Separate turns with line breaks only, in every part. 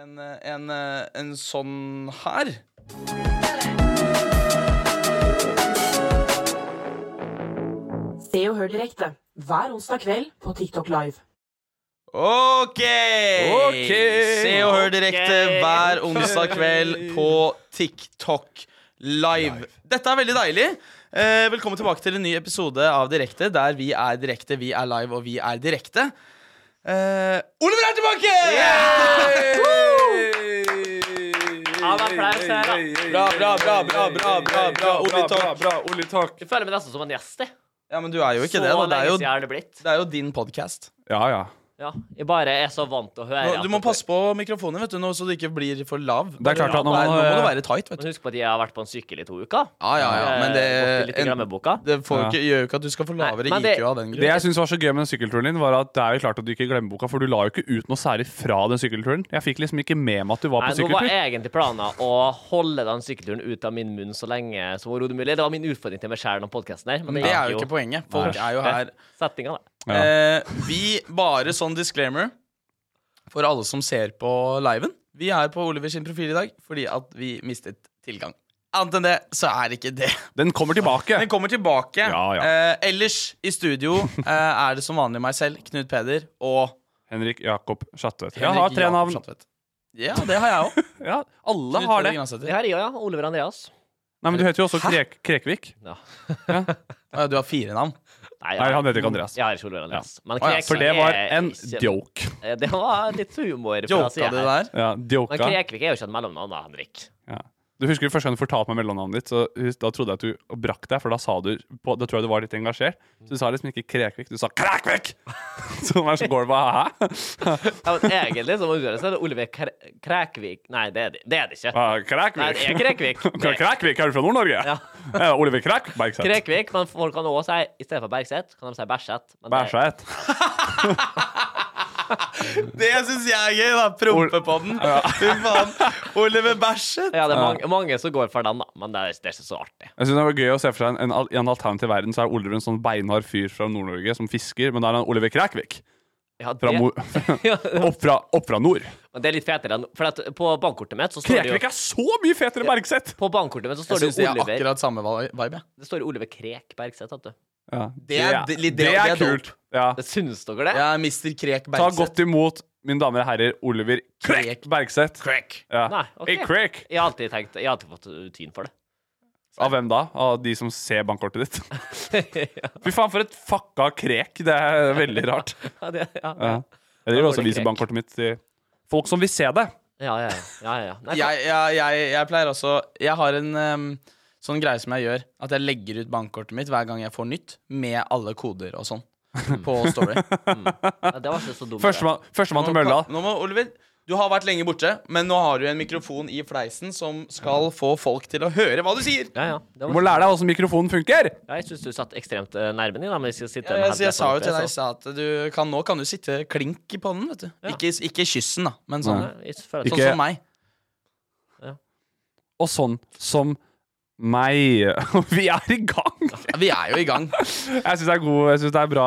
en, en, en sånn her.
Se og hør direkte hver onsdag kveld på TikTok Live.
Ok!
Ok.
Se og hør direkte
Ok.
hver onsdag kveld på TikTok Live. Dette er veldig deilig. Eh, velkommen tilbake til en ny episode av Direkte, der vi er direkte, vi er live, og vi er direkte. Eh, Oliver er tilbake!
Ja, men applaus her, da.
Bra, bra, bra, bra, bra, bra, bra, Oli Talk.
Jeg føler meg nesten som en gjest. jeg.
Ja, men du er jo ikke
så
det. Da. Det,
lenge
er
siden
jo,
er det blitt.
det er jo din podkast.
Ja, ja.
Ja, jeg bare er så vant til å høre
Nå-
at
Du må passe på mikrofonen, vet du, nå, så du ikke blir for lav.
Det er klart at når
Nei,
man,
nå må
eh,
du være tight, vet du.
Men husk på at jeg har vært på en sykkel i to uker.
Ja, ja, ja, men det,
Eh, gått litt i
en,
glemmeboka.
det får
Ja.
ikke, gjør jo ikke at du skal få lavere
Nei, men det-
IQ av den
Det
grunn.
jeg syns var så gøy med den sykkelturen din, var at det er jo klart at du ikke glemmer boka, for du la jo ikke ut noe særlig fra den sykkelturen. Jeg fikk liksom ikke med meg at du var
Nei,
på
nå var
sykkeltur.
egentlig planen å holde den sykkelturen ut av min munn så lenge som overhodet mulig. Det var min utfordring til meg sjæl om podkasten her.
Men det er jo ikke poenget. Folk er jo her.
Settinga, da.
Ja.
Eh, vi bare sånn disclaimer for alle som ser på liven. Vi er på Oliver sin profil i dag fordi at vi mistet tilgang. Annet enn det, så er ikke det.
Den kommer tilbake.
Den kommer tilbake.
Ja, ja.
Eh, ellers i studio eh, er det som vanlig meg selv, Knut Peder, og
Henrik Jakob Schatvedt. Jeg
Henrik
har tre
Jakob
navn.
Schatvedt. Ja, det har jeg òg.
Ja, alle har det.
Det her er jo, ja. Oliver Andreas.
Nei, men du heter jo også Krek Krekvik.
Ja.
Du har fire navn.
jeg-
Nei, han heter ikke Andreas.
Jeg har ikke Oliver Andreas. Men
Å, ja,
Krek
For det var
er
en
ikke-
joke.
Eh, Det var litt humor. fra
Joka
siden
det
her.
der?
Ja,
Men
Djoka.
Krekvik er jo ikke et mellomnavn, da, Henrik.
Ja. Du husker første gang du fortalte meg mellomnavnet ditt, så hus- da trodde jeg at du brakk deg, for da sa du på, Da tror jeg du var litt engasjert. Så du sa liksom ikke Krekvik, du sa Krekvik! Så var jeg så går det bare hæ?
Ja, men egentlig så må du gjøre det, så er det Oliver Kre Krekvik Nei, det er det, det, er det ikke.
Ah, Krekvik.
Nei, det er Krekvik.
Kre- Krekvik, er du fra Nord-Norge?
Ja.
Eh, Oliver Krek, Bergseth.
Krekvik, men folk kan også si i stedet for Bergseth, kan de si Bæsjet. Men det-
Bæsjet.
Det syns jeg er gøy, da. Prompe på den. Fy faen. Oliver Bæsjet.
Ja, det er
Ah.
mange, mange som går for den, da, men det er, det er ikke så artig.
Jeg synes det var gøy å se for seg en, en, al- I en alternativ verden så er Oliver en sånn beinhard fyr fra Nord-Norge som fisker, men da er han Oliver Krekvik.
Ja, det,
Fra mo-
ja,
opp, fra, opp fra nord.
men det er litt fetere enn For at på bankkortet mitt så står det
Krekvik
jo
er så mye fetere enn Bergseth!
På bankkortet mitt så
Jeg
står det
syns de
jo
har
Oliver
akkurat samme vi- vibe. jeg.
Det står jo Oliver Krek Bergseth, vet du.
Ja.
Det er- det- litt- det-
det er
det er dope.
kult. Ja.
Det syns dere det?
Jeg er Mr. Krek
Ta
Bergseth.
godt imot, mine damer og herrer, Oliver Krek
Krek.
Bergseth.
Krek.
Ja.
Nei, ok.
Hey, Krek!
Jeg har alltid tenkt Jeg har alltid fått uh, tyn for det.
Av hvem da? Av de som ser bankkortet ditt?
ja,
Fy faen, for et fucka krek. Det er veldig rart.
det, ja,
Ja.
ja. Da
Jeg driver
går
også
det
og viser
krek.
bankkortet mitt til folk som vil se det.
Ja, ja, ja, ja. Nei, for-
Jeg, jeg, jeg, jeg pleier også Jeg har en ehm, sånn greie som jeg gjør. At jeg legger ut bankkortet mitt hver gang jeg får nytt, med alle koder og sånn. På Story.
ja, det var ikke så dumt. det.
Førstemann førstemann til mølla.
Nå, nå må Oliver du har vært lenge borte, men nå har du en mikrofon i fleisen som skal få folk til å høre hva du sier.
Ja, ja. Det
Du
var
må lære deg hvordan mikrofonen funker!
Ja, jeg syns du satt ekstremt eh, nærme den, da, men hvis jeg sitter
Ja,
med
Altså, jeg, jeg sa jo
headsetet
til
oppe,
deg i stad at du kan, nå kan du sitte klink i pannen. vet du Ikke, ikke kyssen, da, men sånn.
så- Nei, jeg føler at-
Ikke-
Sånn som meg.
Og sånn som meg. Vi er i gang!
Ja, Vi er jo i gang.
Jeg syns det er god, jeg syns det er bra.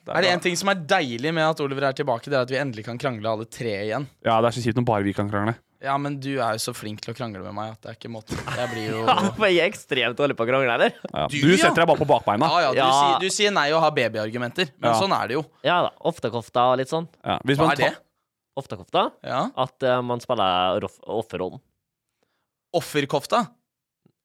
Det
Er det
bra.
en ting som er deilig med at Oliver er tilbake, det er at vi endelig kan krangle alle tre igjen.
Ja, det er så kjipt når bare vi kan krangle.
Ja, men du er jo så flink til å krangle med meg at det er ikke måte. Jeg blir jo
Ja, for jeg er ekstremt dårlig på å krangle, eller?
Ja.
Du,
Du
ja.
setter deg bare på bakbeina.
Ja, ja, du,
Ja.
Sier, du sier nei og har babyargumenter, men
Ja.
sånn er det jo.
Ja da. Oftekofta og litt sånn.
Ja. Hvis
Hva
man
er det?
tar-
Oftekofta.
Ja.
At eh, man spiller rof- offerrollen.
Offerkofta?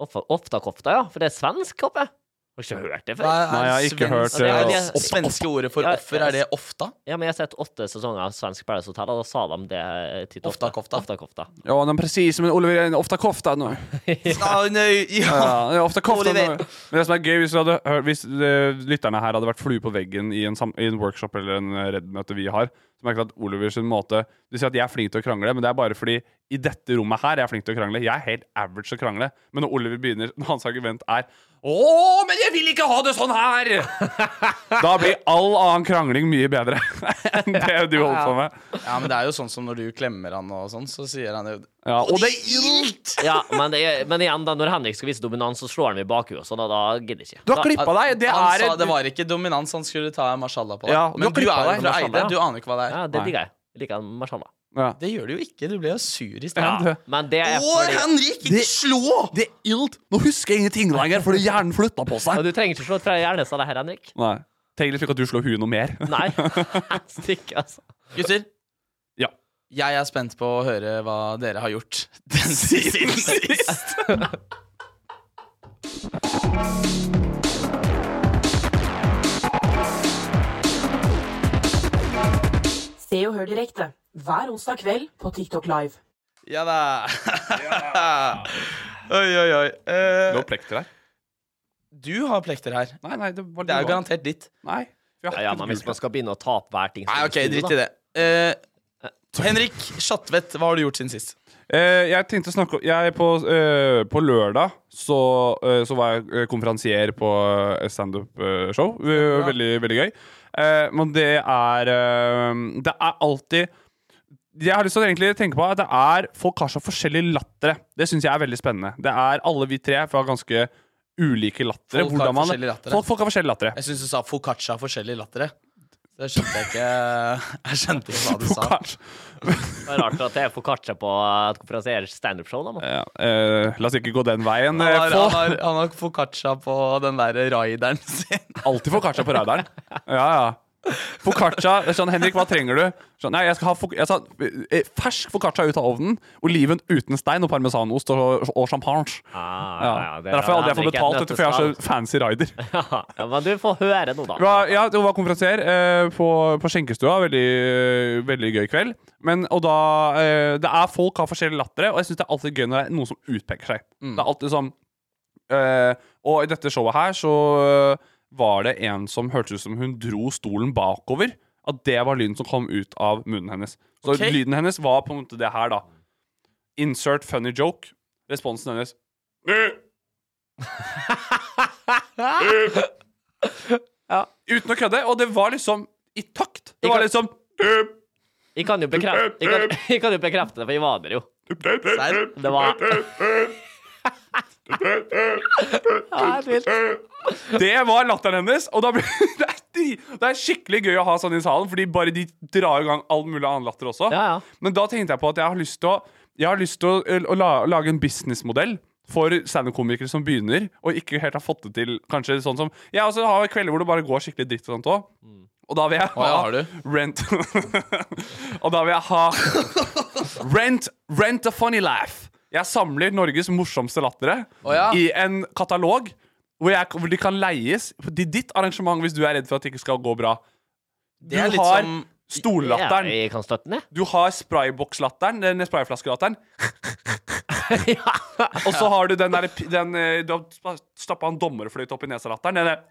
Offer- Oftekofta, ja. For det er svensk, håper jeg. Har ikke hørt det før.
Hva
Nei, jeg har ikke hørt,
svensk-
eh,
det er
opp-
det svenske ordet for
Ja,
offer? Er det ofta?
Ja, men jeg har sett åtte sesonger av svensk Paradise Hotel, og da sa de det eh, titt og ofte.
Oftekofta.
Oftekofta.
Ja, den er precis som en Oliver ofta kofta nå.
Ah, nei, ja.
Ja, den er ofta kofta
Oliver.
nå. Men det som er gøy, hvis, vi hadde, hørt- hvis eh, lytterne her hadde vært flue på veggen i en, sam, i en workshop eller en eh, Redd-møte vi har, så merker du at Oliver sin måte Du sier at jeg er flink til å krangle, men det er bare fordi i dette rommet her er jeg flink til å krangle. Jeg er helt average til å krangle. Men når Oliver begynner, når hans argument er å, men jeg vil ikke ha det sånn her! da blir all annen krangling mye bedre enn det du holder på med.
ja, men det er jo sånn som når du klemmer han og sånn, så sier han jo
Ja, og det
ilt!
Ja, men, det er, men igjen, da, når Henrik skal vise dominans, så slår han meg i bakhuet, og sånn, og da gidder jeg ikke.
Du har
Da-
klippa deg! Det
han
er
sa det var ikke dominans, han skulle ta mashallah på deg.
Ja, og
men
du
du
har
er jo
klippet deg
fra
mashallah,
Eide,
ja.
du aner ikke hva det er.
Ja, det digger jeg. Jeg Liker han mashallah.
ja.
Det gjør du jo ikke, du ble jo sur i sted.
Ja, det-
Men det er
Å,
fordi
Henrik, ikke slå!
Det er ilt. Nå husker jeg ingenting lenger fordi hjernen flytta på
Ja,
seg.
Du trenger ikke slå fra hjernen, sa det her, Henrik.
Nei. Tenk litt slik at du slår huet noe mer.
Nei. Stikk, altså.
Gutter,
Ja.
jeg er spent på å høre hva dere har gjort den siden sist.
Se og hør direkte hver onsdag kveld på TikTok Live.
Ja da. oi, oi, oi. Eh,
Du har plekter her.
du har plekter her.
Nei, nei, det var
Det er jo garantert ditt.
Nei. vi har
Ja, ja,
hatt
men
et
hvis man
gult.
skal begynne å ta opp hver ting som
Nei,
er
ok,
i studio,
dritt
da.
i det. Eh, Henrik Schatvedt, hva har du gjort siden sist?
Eh, jeg tenkte å snakke om jeg, på, eh, på lørdag så, eh, så var jeg eh, konferansier på eh, standup-show. veldig, veldig gøy. Eh, men det er eh, Det er alltid jeg har lyst til å egentlig tenke på at det er folk har så forskjellige lattere. Det syns jeg er veldig spennende. Det er Alle vi tre fra ganske ulike lattere.
Folk har
Hvordan man-
forskjellige lattere.
Folk, folk har forskjellige lattere.
Jeg syns du sa foccaccia forskjellig latter. jeg. Det skjønte jeg ikke Jeg skjønte ikke hva du sa.
Kanskje.
Det er rart at det er foccaccia på et konferansierers standup-show. da, mann.
Ja, eh, la oss ikke gå den veien. eh,
Han har, han
Få,
har, han har foccaccia på den derre raideren sin.
alltid foccaccia på radaren. Ja, ja. Foccaccia det er sånn, Henrik, hva trenger du? Sånn, nei, jeg skal ha foc- jeg sa, eh, fersk foccaccia ut av ovnen. Oliven uten stein og parmesanost og, og champagne.
Ah,
Ja. det er derfor jeg aldri får
Henrik er et
betalt, dette, for jeg har
nøtteskall.
så fancy rider.
ja, Men du får høre nå, da.
Det var, ja, det var konferansier eh, på, på skjenkestua. Veldig, eh, veldig gøy kveld. Men, og da, eh, det er Folk har forskjellige lattere, og jeg syns det er alltid gøy når det er noen som utpeker seg. Det er alltid sånn eh, Og i dette showet her så eh, var det en som hørtes ut som hun dro stolen bakover. At det var lyden som kom ut av munnen hennes. Så
Ok.
lyden hennes var på en måte det her, da. Insert funny joke. Responsen hennes «Øh!» Uten å kødde. Og det var liksom i takt. Det var liksom «Øh!»
Jeg kan jo bekrefte, jeg kan, jeg kan jo bekrefte det, for jeg var der jo.
Serr?
Det var Ja, det er vilt.
Det var latteren hennes. Og da ble, det, er, dri- det er skikkelig gøy å ha sånn i salen, Fordi bare de drar i gang all mulig annen latter også.
Ja, ja.
Men da tenkte jeg på at jeg har lyst til å, jeg har lyst til å, å, la, å lage en businessmodell. For standup-komikere som begynner og ikke helt har fått det til. Kanskje sånn som Jeg også har kvelder hvor det bare går skikkelig dritt og sånt òg. Og da vil jeg ha
Mm. ja, har du?
rent Og da vil jeg ha rent, rent a funny laugh. Jeg samler Norges morsomste lattere
Å ja.
i en katalog hvor, jeg, hvor de kan leies til ditt arrangement hvis du er redd for at det ikke skal gå bra. Du
Det er litt
har
som
stollatteren.
Ja, jeg kan støtte den, jeg.
Du har sprayboks-latteren, den sprayflaskelatteren. Og så har du den der den, eh, Du har stappa en dommerfløyte opp i nesa-latteren. Den der-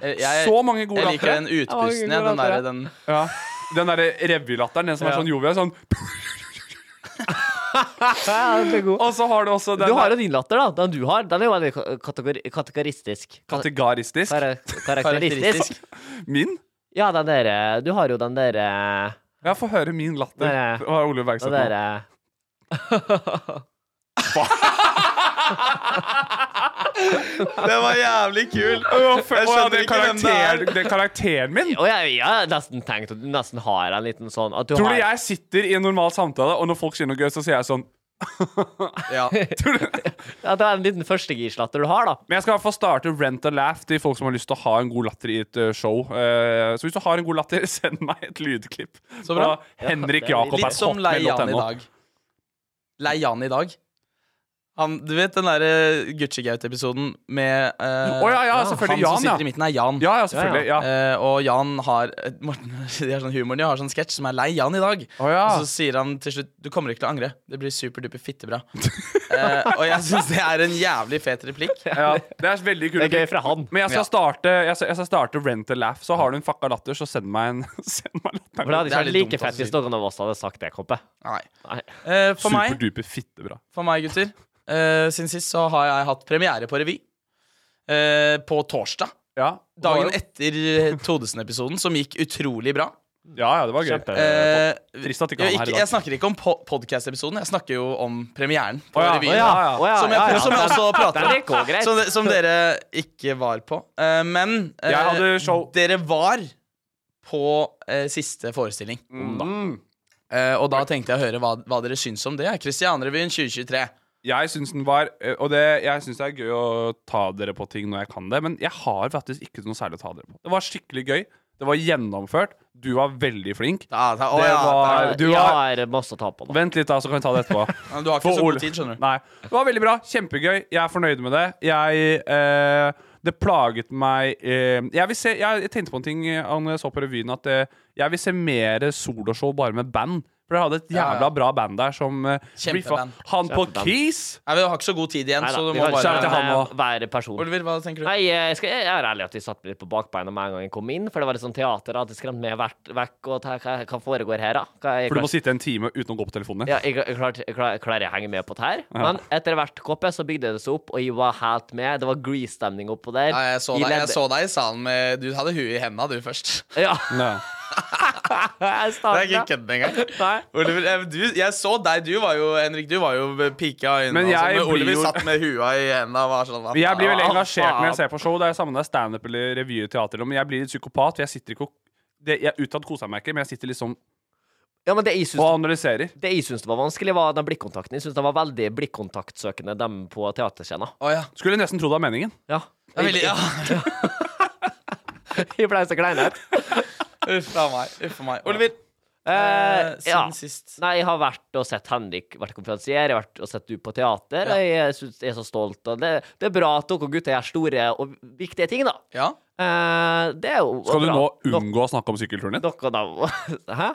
jeg, jeg,
Så mange gode
Jeg liker
lattere.
den utpusten, jeg. Den derre den
Ja. Den derre revylatteren, den som er
Ja.
sånn jovial. Sånn. Og så har du også den
Du har
der
jo din latter, da. Den du har, den er jo veldig ka- kategori kategoristisk. Ka-
kategoristisk.
kara- Karakteristisk.
karakteristisk.
Min?
Ja, den derre Du har jo den derre
Ja, få høre min latter.
Der eh, er-
Det var Ole Bergstad
Den
nå.
derre
Den var jævlig kul.
Å, for-
Jeg
å, ja,
skjønner
det, er
ikke hvem det er.
karakter, det er karakteren min!
Og jeg, jeg har nesten tenkt at du nesten har en liten sånn at du
Tror du
har,
jeg sitter i en normal samtale, og når folk sier noe gøy, så sier jeg sånn
Ja.
Tror du
At det er en liten førstegirslatter du har, da.
Men jeg skal i hvert fall starte Rent a Laugh til folk som har lyst til å ha en god latter i et eh, show. Eh, så hvis du har en god latter, send meg et lydklipp.
Så bra.
Av Henrik
Ja,
Jakob
Litt som Lei Jan i dag. Lei Jan i dag. Han, du vet den derre Gucci-Gaute-episoden med eh,
Å, ja, ja, selvfølgelig,
Han
Jan,
som sitter
ja.
i midten, er Jan.
Ja, ja, selvfølgelig. Ja.
Eh, og Jan har eh, Morten, de har sånn humoren, de har sånn sketsj som er lei Jan i dag.
Å, ja.
Og så sier han til slutt Du kommer ikke til å angre. Det blir superduper fittebra. Eh, og jeg syns det er en jævlig fet replikk.
Ja, det er veldig kult.
Det er gøy fra han.
Men jeg skal,
Ja.
starte, jeg, skal, jeg skal starte Rent a Laugh. Så har du en fucka latter, så send meg en send meg
For det hadde
latter.
Det er litt dumt
ikke vært like
å
fett hvis
si.
noen av oss hadde sagt det, Koppe.
Nei.
Nei.
Eh, for, meg,
Superduper fittebra.
for meg, gutter, eh, siden sist så har jeg hatt premiere på revy. Eh, på torsdag.
Ja.
Dagen
Det var jo-
etter eh, Todesen-episoden, som gikk utrolig bra.
Ja, ja, det var gøy.
Kjempe.
Eh,
Trist at ikke
jeg,
han er her i
ikke,
dag.
jeg snakker ikke om po podkast-episoden, jeg snakker jo om premieren. på
Å ja,
revyen.
å ja, ja.
Som jeg- som jeg også prater om.
om. Det går greit.
Som, de- som dere ikke var på. Eh, men eh,
Jeg hadde show.
dere var på eh, siste forestilling.
Mm.
Eh, og da tenkte jeg å høre hva, hva dere syns om det. Kristianrevyen 2023.
Jeg syns den var eh, Og det, jeg syns det er gøy å ta dere på ting når jeg kan det, men jeg har faktisk ikke noe særlig å ta dere på. Det var skikkelig gøy. Det var gjennomført. Du var veldig flink.
Da, da, å,
Det
ja,
var-
da-
du
jeg
har-
har masse å ta på nå.
Vent litt, da, så kan vi ta det etterpå.
Men du har ikke
For
så god
Ole-
tid, skjønner du.
Nei. Det var veldig bra. Kjempegøy. Jeg er fornøyd med det. Jeg eh, Det plaget meg eh, jeg, vil se, jeg tenkte på en ting eh, når jeg så på revyen, at eh, jeg vil se mer soloshow bare med band. For jeg hadde et
Ja,
jævla
ja.
bra band der som eh,
Kjempeband.
riffa- Han på
Kjempeband.
Keys!
Nei, vi har ikke så god tid igjen,
Nei da,
så du
vi
må
kan
bare
Shout out til han
eh,
også.
være person.
Oliver, hva tenker du?
Nei, jeg, skal, jeg er ærlig at vi satt litt på bakbeina med en gang jeg kom inn, for det var litt sånn teater. at det skremte meg vekk, vekk og ta, hva, hva foregår her, da? Hva, jeg,
For du må sitte en time uten å gå på telefonen. din.
ja, jeg, jeg, klarte- jeg, klar, klarer jeg å henge med på det her? Men etter hvert koppe så bygde det seg opp, og jeg var helt med. Det var grease-stemning oppå der.
Nei, jeg, så deg, jeg så deg i salen med Du hadde huet i henda, du først.
Ja,
Ja.
jeg
Det er ikke
starta.
kødd engang.
Nei.
Oliver, eh, du, jeg så deg. Du var jo Henrik, du var jo pika i øynene.
Men
og sånn,
jeg
men Oliver
blir jo-
satt med hua i henda og var sånn hva
Men Jeg blir
faen?
veldig
Ah,
engasjert når jeg
faen.
ser på show. Det er samme om det er standup eller revy eller teater, men jeg blir litt psykopat. For jeg sitter ikke og det, jeg, Utad koser jeg meg ikke, men jeg sitter liksom
Ja, men det jeg syns
og analyserer.
Det jeg syns var vanskelig, var den blikkontakten. Jeg syns de var veldig blikkontaktsøkende, dem på teaterscenen.
Å, ja.
Skulle nesten tro det var meningen.
Ja.
Jeg ville- ja.
Jeg ble så klein ut.
Uff a meg. Uff a meg. Oliver,
Eh,
eh,
ja.
siden sist
Nei, jeg har vært og sett Henrik vært konferansier, jeg har vært og sett du på teater. og Jeg, eh, synes, jeg er så stolt. Og det, det er bra at dere gutter gjør store og viktige ting, da.
Ja?
Eh, det er jo
Skal du
bra.
nå
Nok-
unngå å snakke om sykkelturen din?
Noen av Hæ?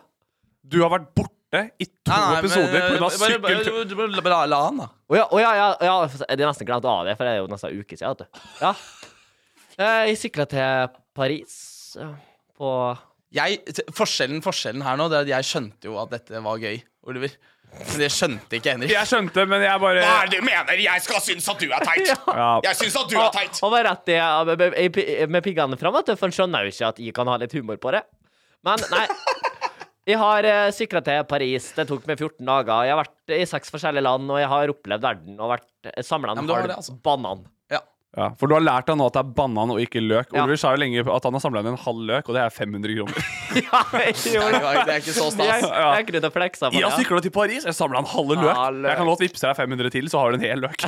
Du har vært borte i to episoder pga.
eh,
eh,
sykkeltur.
sykkeltur. La, la han, da.
Å ja, å ja, ja, ja, jeg hadde nesten glemt av det, for det er jo nesten en uke siden. vet du. Ja. Eh, Jeg sykla til Paris eh, på
Jeg, t- forskjellen, forskjellen her nå Det er at jeg skjønte jo at dette var gøy, Oliver. Men det skjønte ikke Henrik.
Jeg skjønte, men jeg bare
Hva er det du mener? Jeg skal synes at du er teit.
Ja.
Jeg synes at du
Ah,
er teit.
Han var rett i, med- med piggene fram, vet du, for han skjønner jo ikke at jeg kan ha litt humor på det. Men nei. Jeg har uh, sykla til Paris. Det tok meg 14 dager. Jeg har vært i seks forskjellige land, og jeg har opplevd verden og vært samla
Ja, men
en
du har
halv
det, altså.
banan.
Ja, for du har lært deg nå at det er banan og ikke løk.
Ja.
Oliver sa jo lenge at han har samla inn en halv løk, og det er 500 kroner.
Ja, jeg
Nei,
gjorde
det
det.
var- det er ikke så
Jeg,
stas.
jeg kunne fleksa på
Jeg
det.
sykla til Paris, jeg samla en halve løk.
Ah, løk.
Jeg kan godt vippse deg 500 til, så har du en hel løk.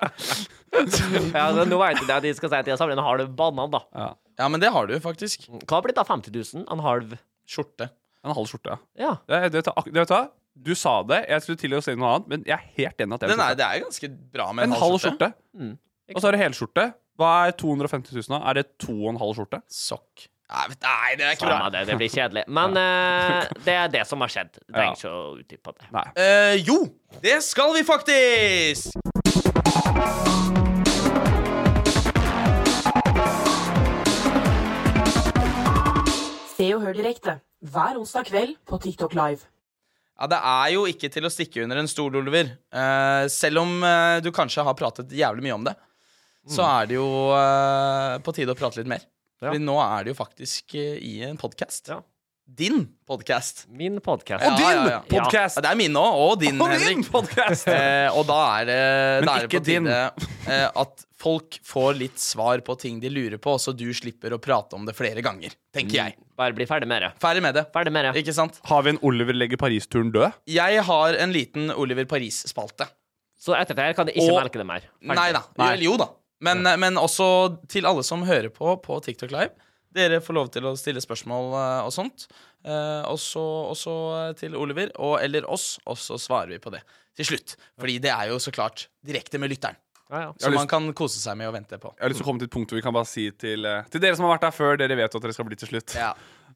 Ja, så nå vet jeg det at jeg skal si at jeg samler en halv banan, da.
Ja, men det har du jo faktisk.
Hva har blitt av 50 000? En halv?
Skjorte.
En halv skjorte, ja.
Ja.
Det, det, vet du- ak- det, vet du hva? Du sa det, jeg skulle til å si noe annet, men jeg er helt enig at det er
Den
en
er,
skjorte.
det er ganske bra med
En halv skjorte.
Mm.
Og så er det helskjorte. Hva er 250 000 av? Er det to og en halv skjorte?
Sokk. Nei, vet- nei, det er ikke
Samme
bra.
det, det blir kjedelig. Men eh, det er det som har skjedd.
Ja.
Trenger ikke å utdype det.
Nei.
Eh, jo, det skal vi faktisk!
Se og hør direkte hver onsdag kveld på TikTok Live.
Ja, Det er jo ikke til å stikke under en stol, Oliver. Eh, selv om eh, du kanskje har pratet jævlig mye om det, så er det jo eh, på tide å prate litt mer.
Ja.
For nå er det jo faktisk eh, i en podkast.
Ja.
Din podkast.
Min podkast.
Og din Ja, ja, ja.
podcast.
Ja, det er min òg, og din,
Og
Henrik.
din podcast.
Eh, og da er det
Men
da er det
ikke
på tide- eh, at folk får litt svar på ting de lurer på, så du slipper å prate om det flere ganger. Tenker jeg.
Bare bli ferdig med det.
Ferdig med det.
Ferdig med det.
Ikke sant?
Har vi en Oliver legger Paris-turen død?
Jeg har en liten Oliver Paris-spalte.
Så etter det her kan jeg ikke
Og-
merke det mer. Ferdig.
Nei da. Vel, jo da. Men, men også til alle som hører på på TikTok Live. Dere får lov til å stille spørsmål eh, og sånt. Eh, og så også til Oliver og eller oss, og så svarer vi på det til slutt. Fordi det er jo så klart direkte med lytteren,
Ja, ja.
som man kan kose seg med og vente på.
Jeg har lyst til å komme til et punkt hvor vi kan bare si til, eh, til dere som har vært der før, dere vet at dere skal bli til slutt.
Ja.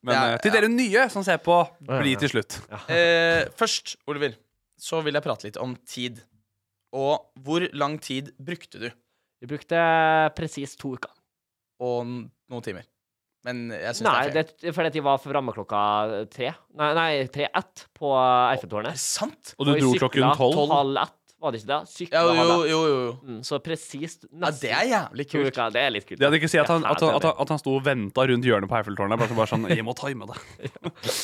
Men
Ja,
eh, til
ja.
dere nye som ser på, bli til slutt.
Eh, først, Oliver, så vil jeg prate litt om tid. Og hvor lang tid brukte du?
Vi brukte presis to uker.
Og n- noen timer. Men jeg syns det
Nei,
er
det,
fair.
fordi at de var framme klokka tre. Nei, nei tre-ett på
Er
Eiffeltårnet.
det sant?
Og du
vi
dro
sykla
klokken tolv.
Halv ett, var det ikke det? Sykla
Ja, jo,
halv
jo,
ett.
jo. jo.
Mm, så presist
Ja,
nesten
det er jævlig
to
kult.
uker. Det er litt kult.
Det hadde ikke si at han,
Ja,
at, han-
det
at,
er
han- at han sto og venta rundt hjørnet på Eiffeltårnet. Bare, så bare sånn 'Jeg må time det'.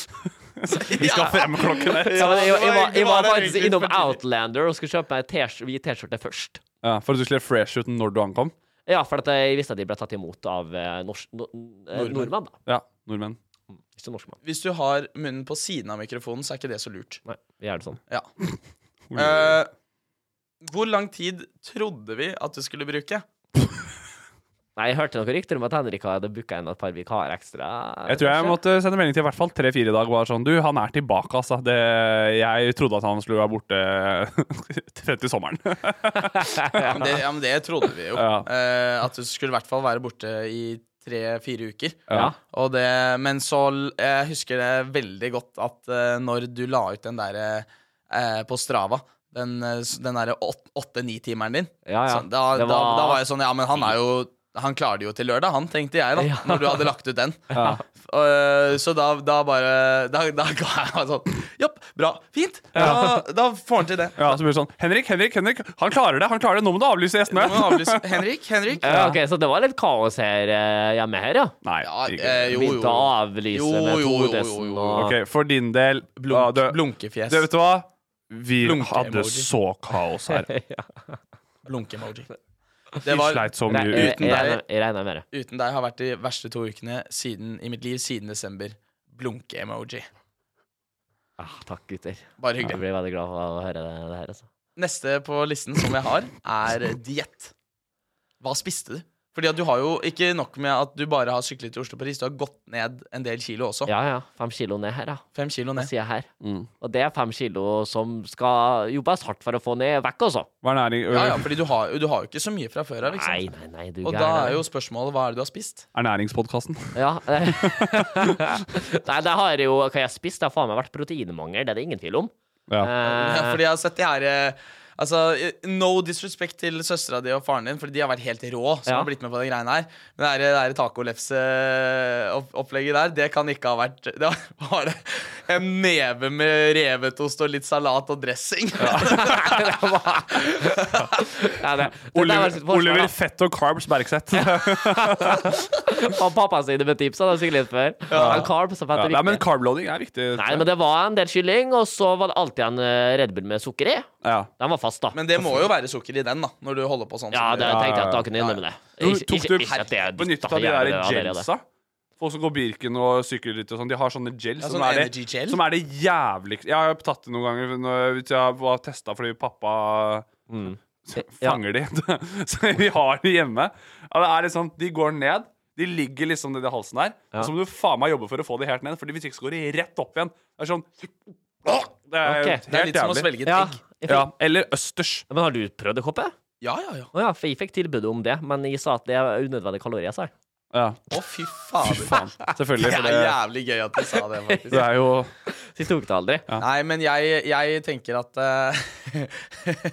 Vi skal fremme klokken
det.
ett.
Ja, men jeg, jeg, var, jeg var
Det var
faktisk
egentlig
innom
for tidlig.
Outlander og skulle kjøpe meg en T-skj- hvit T-skjorte først.
Ja, for at du skulle se fresh ut når du ankom.
Ja, for at jeg visste at de ble tatt imot av eh, norsk, no, eh,
Nordmenn.
nordmenn, da.
Ja, nordmenn.
Ikke norskmann.
Hvis du har munnen på siden av mikrofonen, så er ikke det så lurt.
Nei, vi gjør det sånn.
Ja. Eh, hvor lang tid trodde vi at du skulle bruke?
Nei, jeg hørte noen rykter om at Henrik hadde booka inn et par vikarer ekstra.
Jeg tror jeg måtte sende melding til i hvert fall tre-fire i dag. Var sånn, du, han er tilbake, altså. Det, jeg trodde at han skulle være borte frem til sommeren.
Ja, men det, ja, men det trodde vi jo.
Ja.
Eh, at du skulle i hvert fall være borte i tre-fire uker.
Ja.
Og det, men så l- Jeg husker det veldig godt at eh, når du la ut den derre eh, på Strava, den, eh, s- den derre åtte-ni-timeren din,
Ja, Ah, ja.
så Sånn, da,
Det
da,
var-
da var jeg sånn Ja, men han er jo han klarer det jo til lørdag, han, tenkte jeg, da.
Ja.
Når du hadde lagt ut den. Eh, så da, da bare Da, da ga jeg meg sånn Jopp, bra, fint. Da, da får han til det.
Ja, så blir det sånn Henrik, Henrik, Henrik, han klarer det! han klarer det, Nå må du avlyse gjestene!
Nå må du avlyse. Henrik, Henrik.
Ja, ok, Så det var litt kaos her eh, hjemme her, ja?
Nei,
Ja,
ikke.
eh, jo,
Begynte
jo.
å avlyse
Jo, jo,
med
jo, jo, jo,
Todesen
jo.
og
Ok, for din del ja,
Blunk,
du,
Blunkefjes.
du, Vet du hva? Vi
Blunke-emoji.
hadde så kaos her.
Blunke-emoji.
Vi
Det var
sleit så
Nei, eh,
mye
jeg-
uten
jeg
deg.
regner- Jeg regner med det.
uten deg har vært de verste to ukene siden, i mitt liv siden desember. Blunke-emoji.
Ah, takk, gutter.
Bare
Jeg
hyggelig.
blir veldig glad for å høre det, det her. Altså.
Neste på listen som jeg har, er diett. Hva spiste du? Fordi at du har jo ikke nok med at du bare har syklet til Oslo og Paris, du har gått ned en del kilo også.
Ja, ja. Fem kilo ned her, ja.
Fem kilo
Det
ned.
sier jeg her. Og det er fem kilo som skal jobbes hardt for å få ned vekk, altså.
Hva er næring,
Ja, ja, fordi du har, du har jo ikke så mye fra før av, ikke
Nei,
sant?
nei, nei, du
Og da
gæren,
er
da.
jo spørsmålet hva er det du har spist?
Ernæringspodkasten.
Ja. eh. Nei, det har jo Hva jeg har spist, det har faen meg vært proteinmangel, det er det ingen tvil om.
Ja.
Ja,
Eh,
fordi jeg har sett de her eh, Altså, eh, No disrespect til søstera di og faren din, Fordi de har vært helt rå. Som
Ja.
har blitt med på de greiene her Men det her- det her tacolefseopplegget eh, der, det kan ikke ha vært Det var bare en neve med revetost og litt salat og dressing.
ja, det- det der var
Oliver,
sitt forsvar, da.
Oliver Fett og Carbs Bergseth. Ja.
Og pappa sine med tips, han har sikkert litt før. Han Carb, som heter
Nei, men
riktig.
carbloading er viktig. tror
Nei,
jeg.
men det var en del kylling, og så var det alltid en eh, Red Bull med sukker i.
ja.
Den var fast, da.
Men det må jo være sukker i den, da, når du holder på sånn.
Ja,
som du
det
gjør.
tenkte jeg at da kunne jeg innrømme det.
Jo,
Ikke-
Tok
ikke-
du
ikke at det er dypt,
benyttet
da,
av de
gjerne
der
det allerede.
gelsa? Folk som går Birken og sykler litt og sånn, de har sånne gel
Ja,
som,
sånn
er
energy
det,
gel.
som er det jævligste Jeg har tatt det noen ganger når hvis jeg var testa fordi pappa så
Ja.
fanger de. så vi har de hjemme. Ja, det er liksom, de går ned. De ligger liksom nedi halsen der. Og så må du faen meg jobbe for å få de helt ned, Fordi hvis ikke så går de rett opp igjen. Det er sånn Åh! Det er
Ok.
helt
Det er litt som å
jævlig.
svelge et
Ja.
egg.
jeg
Ja,
fikk-
eller østers.
Men har du prøvd å hoppe? Å
Ja, ja, ja.
ja, for jeg fikk tilbud om det, men jeg sa at det er unødvendige kalorier, sa jeg.
Ja,
Å, fy fader.
faen. Selvfølgelig.
Det
For
er
det,
jævlig gøy at du sa det, faktisk.
det er jo
Så jeg tok det aldri.
Nei, men jeg, jeg tenker at eh,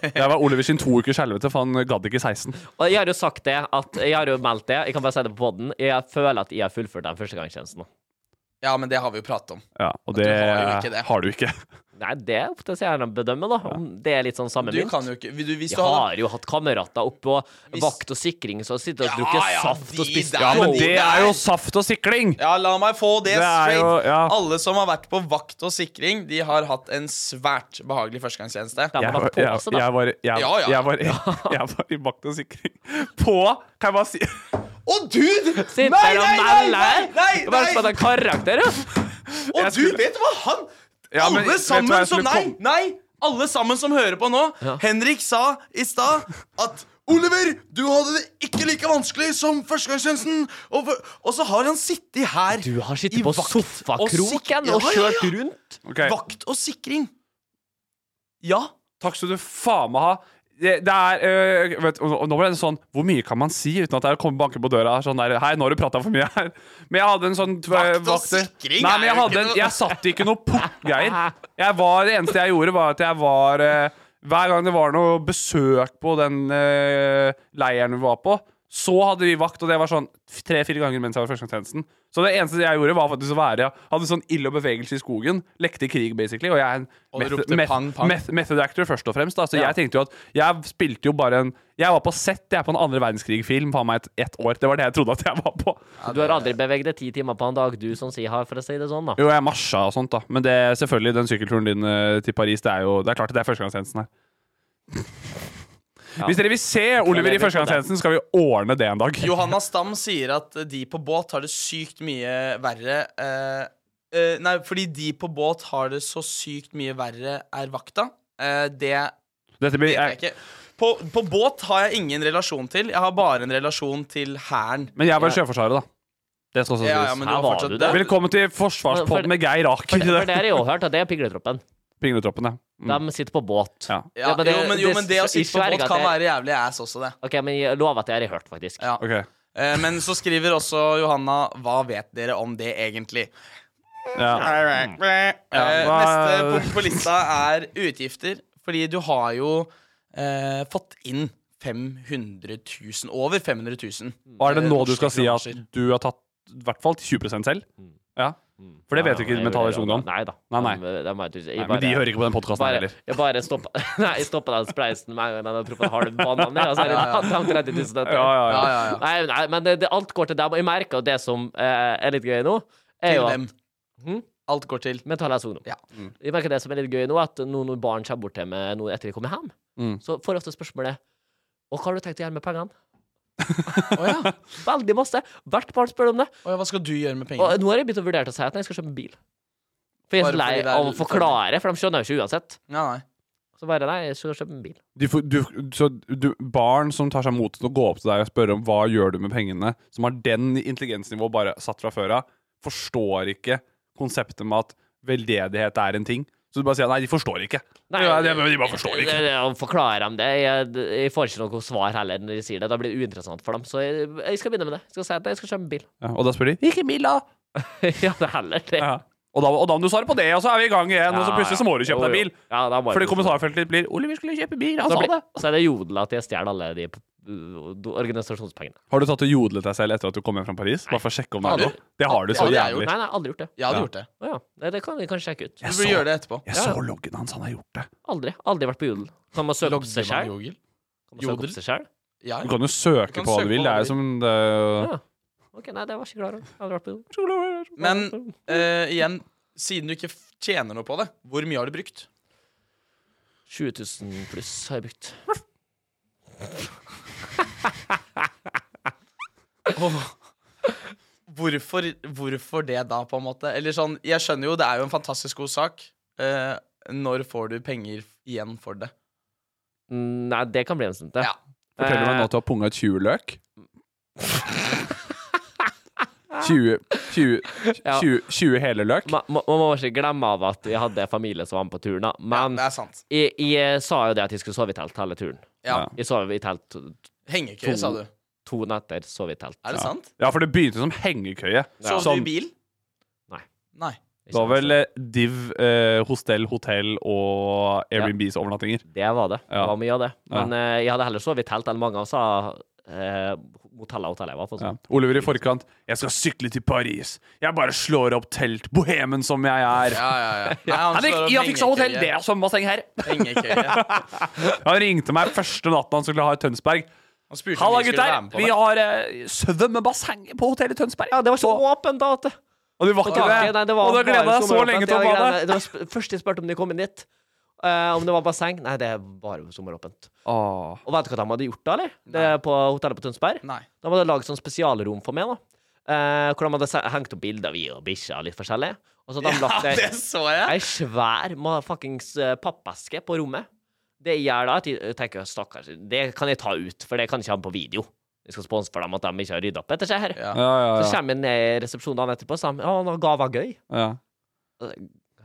Det var Oliver sin to ukers helvete, for han gadd ikke 16.
Og jeg har jo sagt det, at jeg har jo meldt det, jeg kan bare si det på poden, jeg føler at jeg har fullført den førstegangstjenesten nå.
Ja, men det har vi jo pratet om.
Ja, og
Du
det
har jo ikke det.
har du ikke.
Nei, det er opp til seerne å bedømme, da. Om det er litt sånn samme
Du
mynt.
kan jo ikke du, Hvis
Jeg
du hadde
har jo hatt kamerater oppe og
Hvis-
vakt og sikring som sitter og
Ja,
drukker
ja,
saft
de
og spiser
der.
Ja, men det er jo
Der.
saft og sikling!
Ja, la meg få det,
Det er
straight.
jo- ja.
Alle som har vært på vakt og sikring, de har hatt en svært behagelig førstegangstjeneste.
De
Jeg
har
var,
vært på
jeg,
også, da.
jeg, var, jeg,
Ja, ja.
jeg, var, jeg var i vakt og sikring. På Kan jeg bare si
Og du!
Sitter
Nei,
og
nei, nei, nei,
meller!
nei,
Bare
nei.
spør deg karakter, jo.
Og
Jeg
du
skulle-
vet hva han
Ja, men
Alle
vet du hva
sammen
jeg
som
skulle
Nei!
komme-
nei alle sammen som hører på nå. Henrik sa i stad at Oliver, du hadde det ikke like vanskelig som førstegangstjenesten. Og, for- og så har han sittet her
Du har
I
sittet på
vakt-
sofakroken
og
og
sik- Ja, ja,
kjørt
ja.
rundt.
Ok,
vakt og sikring. Ja.
Takk skal du faen meg ha. Det, det er øh, vet, og, og Nå ble det sånn Hvor mye kan man si uten at det kommer banker på døra? Sånn der, Hei, nå har du prata for mye her. Men jeg hadde en sånn øh,
Vakt og
vakter-
sikring
Nei,
er
men jeg,
jo
hadde
ikke
en,
noe-
jeg satt ikke noe pukkgreier. Jeg var- Det eneste jeg gjorde, var at jeg var øh, Hver gang det var noe besøk på den øh, leiren vi var på, så hadde vi vakt, og det var sånn tre-fire ganger mens jeg var i førstegangstjenesten. Så det eneste jeg gjorde, var faktisk å være Jeg hadde sånn ild og bevegelse i skogen. Lekte krig, basically. Og jeg er en
Og du
method-
ropte
meth-
pang, pang.
meth- Method actor først og fremst. Da. Så jeg tenkte jo at Jeg spilte jo bare en Jeg var på sett jeg på en andre verdenskrig-film faen meg et, ett år. Det var det jeg trodde at jeg var på.
Du har aldri beveget deg ti timer på en dag, du som sier har, for å si det sånn, da.
Jo, jeg marsja og sånt, da. Men det, selvfølgelig, den sykkelturen din eh, til Paris, det er jo Det er klart at det er førstegangstjenesten her. Hvis dere vil se Oliver i
lever på
førstegangstjenesten, skal vi ordne det en dag.
Johanna Stam sier at de på båt har det sykt mye verre eh, eh, Nei, fordi de på båt har det så sykt mye verre, er vakta. Eh, det
Dette blir
vet jeg ikke. På, på båt har jeg ingen relasjon til. Jeg har bare en relasjon til hæren.
Men jeg var i Sjøforsvaret, da. Det skal også sies.
Ja, ja, men du
Her
har
var
fortsatt
du
det.
der.
Velkommen til
For-
forsvarspodden med Geir
For,
Aker.
for det har jeg jo hørt, at det er pigletroppen.
Pingletroppen, ja. Mm.
De sitter på båt.
ja.
Ja,
Ja, men det-
jo, men, jo,
det-
men det å
i
sitte på
Sverige
båt
at
kan
det-
være jævlig ass også, det.
OK, men jeg lover at det har jeg hørt, faktisk.
Ja.
Ok.
Eh, men så skriver også Johanna Hva vet dere om det egentlig?
Ja.
Eh,
hva-
neste punkt på lista er utgifter. Fordi du har jo eh, fått inn 500 000. Over 500 000.
Og er det
Eh,
nå du
norske
skal si at
kroner.
du har tatt i hvert fall 20 selv? Ja. For det vet du ikke med Tallers Ungdom.
Mm. Nei da.
Nei, nei.
De, de, har jeg tusen- jeg
Nei, men de
bare-
hører ikke på den podkasten
bare,
heller.
jeg bare stoppa Nei, jeg stoppa den spleisen med en gang den hadde truffet en halv banan ned. Og så er det de- de 30 000 etter.
Ja, ja, ja.
Ja, ja, ja.
Nei, nei, men det, det, alt går til dem. Og jeg merker jo det som eh, er litt gøy nå, er
Til
jo
dem.
at
Alt går til.
Men ta les ungdom.
Ja.
Mm.
Jeg merker det som er litt gøy nå, at nå når barn kommer bort til meg nå etter de kommer hjem,
Mm.
så får jeg ofte spørsmålet Og hva har du tenkt å gjøre med pengene?
Å ja.
Veldig masse. Hvert barn spør om det.
Å ja, hva skal du gjøre med
Mm.
Og
pengene?
nå har jeg begynt å eh, vurdere til å si at nei, jeg skal kjøpe en bil. For jeg er
Bare
så lei
fordi det er
av å
litt-
forklare, for de skjønner jo ikke uansett.
Ja, nei.
Så bare nei, jeg skal kjøpe en bil.
Du, får- du, så du, barn som tar seg mot til å gå opp til deg og spørre om hva gjør du med pengene, som har den intelligensnivået bare satt fra før av, forstår ikke konseptet med at veldedighet er en ting. Så du bare sier nei, de forstår ikke.
Nei,
ja, de, de bare forstår ikke.
Det, det, å forklare dem det jeg, jeg får ikke noe svar heller når de sier det. Da blir det uinteressant for dem. Så jeg, jeg skal begynne med det. Jeg skal si at jeg skal kjøpe en bil.
Ja, og da spør de hvilken bil da?
ja, det er heller det.
Ja. Og, da? og da må du svare på det, og så er vi i gang igjen, og så plutselig så må du
Jo,
kjøpe
jo.
deg bil.
Ja, da må jeg
Fordi
plutselig-
kommentarfeltet ditt blir 'Oliver skulle kjøpe bil', han
Da
sa
blir-
det.
Så er det jodel at jeg stjeler alle de uh, do- organisasjonspengene.
Har du tatt og jodlet deg selv etter at du kom hjem fra Paris? Bare for å sjekke om det
Har
er
du?
noe? Det har du så
Har du? Jeg har
jævlig.
Nei, nei, aldri gjort det.
Jeg hadde
Ja.
gjort det.
Å ja. Nei, det kan vi kanskje sjekke ut.
Du
Jeg
burde gjøre
så,
det etterpå.
jeg så loggen hans, han har gjort det.
Aldri. Aldri vært på jodel. Kan man søke opp
Logger man
seg sjøl?
jodel? Jodel?
Ok,
Ja, ja.
Du kan jo søke
Du kan
på hva
søke
du vil.
på
Det
hva du
er jo som det, er
Ja. nei,
jo-
det var jeg ikke klar over. Aldri vært på jodel.
Men eh, igjen, siden du ikke f- tjener noe på det, hvor mye har du brukt?
7000 pluss har jeg brukt.
Hvorfor, hvorfor det da, på en måte? Eller sånn, Jeg skjønner jo, det er jo en fantastisk god sak. Eh, når får du penger igjen for det?
Mm, Nei, det kan bli en stund til. Eh,
Ja.
Forteller
Eh.
du meg nå at du har punga 20 løk? 20, 20,
Ja.
20, 20 hele løk?
Man, man må ikke glemme av at jeg hadde familie som var med på turen, da. Men
Det er sant.
jeg, jeg sa jo det at jeg skulle sove i telt hele turen.
Ja.
Ja.
Jeg sov i telt to,
Hengekøye, sa du. Er
to netter. Sov i telt.
det sant?
Ja, for det begynte som hengekøye.
Sov du
Som-
i bil?
Nei.
Nei.
Det var vel
sånn.
eh, div, eh, hostel, hotell og Airbnbs overnattinger.
Det var det. Det
Ja.
var mye av det.
Ja.
Men eh, jeg hadde heller sovet i telt enn mange av oss sa eh, Motella Hotella jeg var på.
Ja.
Sånn.
Oliver i forkant. 'Jeg skal sykle til Paris'. 'Jeg bare slår opp telt, bohemen som jeg er'.
Ja, ja, ja. Nei, han
Han,
slår
fikk,
opp
jeg fikk så hotell,
hengekøye.
det er svømmebasseng her.
Hengekøye.
Han ringte meg første natten han skulle ha i Tønsberg.
Han spurte om
Halla,
vi skulle
gutter!
være med på
Vi
det.
har eh, svømmebasseng på hotellet Tønsberg.
Ja, det var så åpent da at det-
Og det var ikke det.
taket, nei, det var
og da
bare
gleda jeg så
sommeråpent,
lenge
ja,
til å
det
bade.
greiene- Det var sp først jeg spurte om de kom inn dit. Eh, om det var basseng. Nei, det er bare sommeråpent.
Åh.
Og vet du hva de hadde gjort da, eller? Det, på hotellet på Tønsberg?
Nei.
De hadde laget sånn spesialrom for meg, da. Eh, hvor de hadde se- hengt opp bilder av vi og bikkja og litt forskjellig. Og så hadde de
Ja,
lagt ei,
det så jeg.
ei svær ma- fuckings eh, pappeske på rommet. Det jeg gjør da, at jeg tenker stakkars, det kan jeg ta ut, for det kan jeg ikke ha på video. Jeg skal sponse for dem at de ikke har rydda opp etter seg her.
Ja.
Ja, ja,
Så
ja.
kommer jeg ned i resepsjonen dagen etterpå og sier at han har gava gøy.
ja.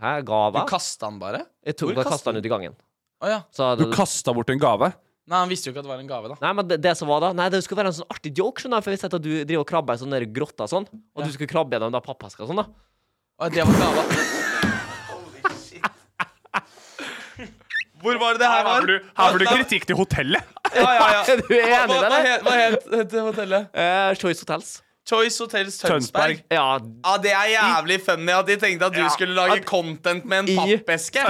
Hæ,
Du
gava?
kasta han bare?
Jeg
hvor
tok og
kastet
kasta den ut i gangen.
Å ja.
Så
Du
det-
kasta bort en gave.
Nei, han visste jo ikke at det var en gave, da.
Nei, men det, det som var da Nei, det skulle være en sånn artig joke, skjønner du. For hvis at du driver og krabber i sånne der grotter og sånn, og du skulle krabbe gjennom da pappeska og sånn, da.
Å, det var gava. Holy shit. Hvor var det det her var?
kritikk til hotellet.
Ja, ja, ja.
Er du enig
Hva-
i det,
Hva
eller?
het- hva het het hotellet?
Eh, Choice Hotels.
Choice Hotels Tønsberg.
Tønsberg.
Ja,
Ja, Det er jævlig funny at de tenkte at du
Ja,
skulle lage
at-
content med en
I-
pappeske. ja,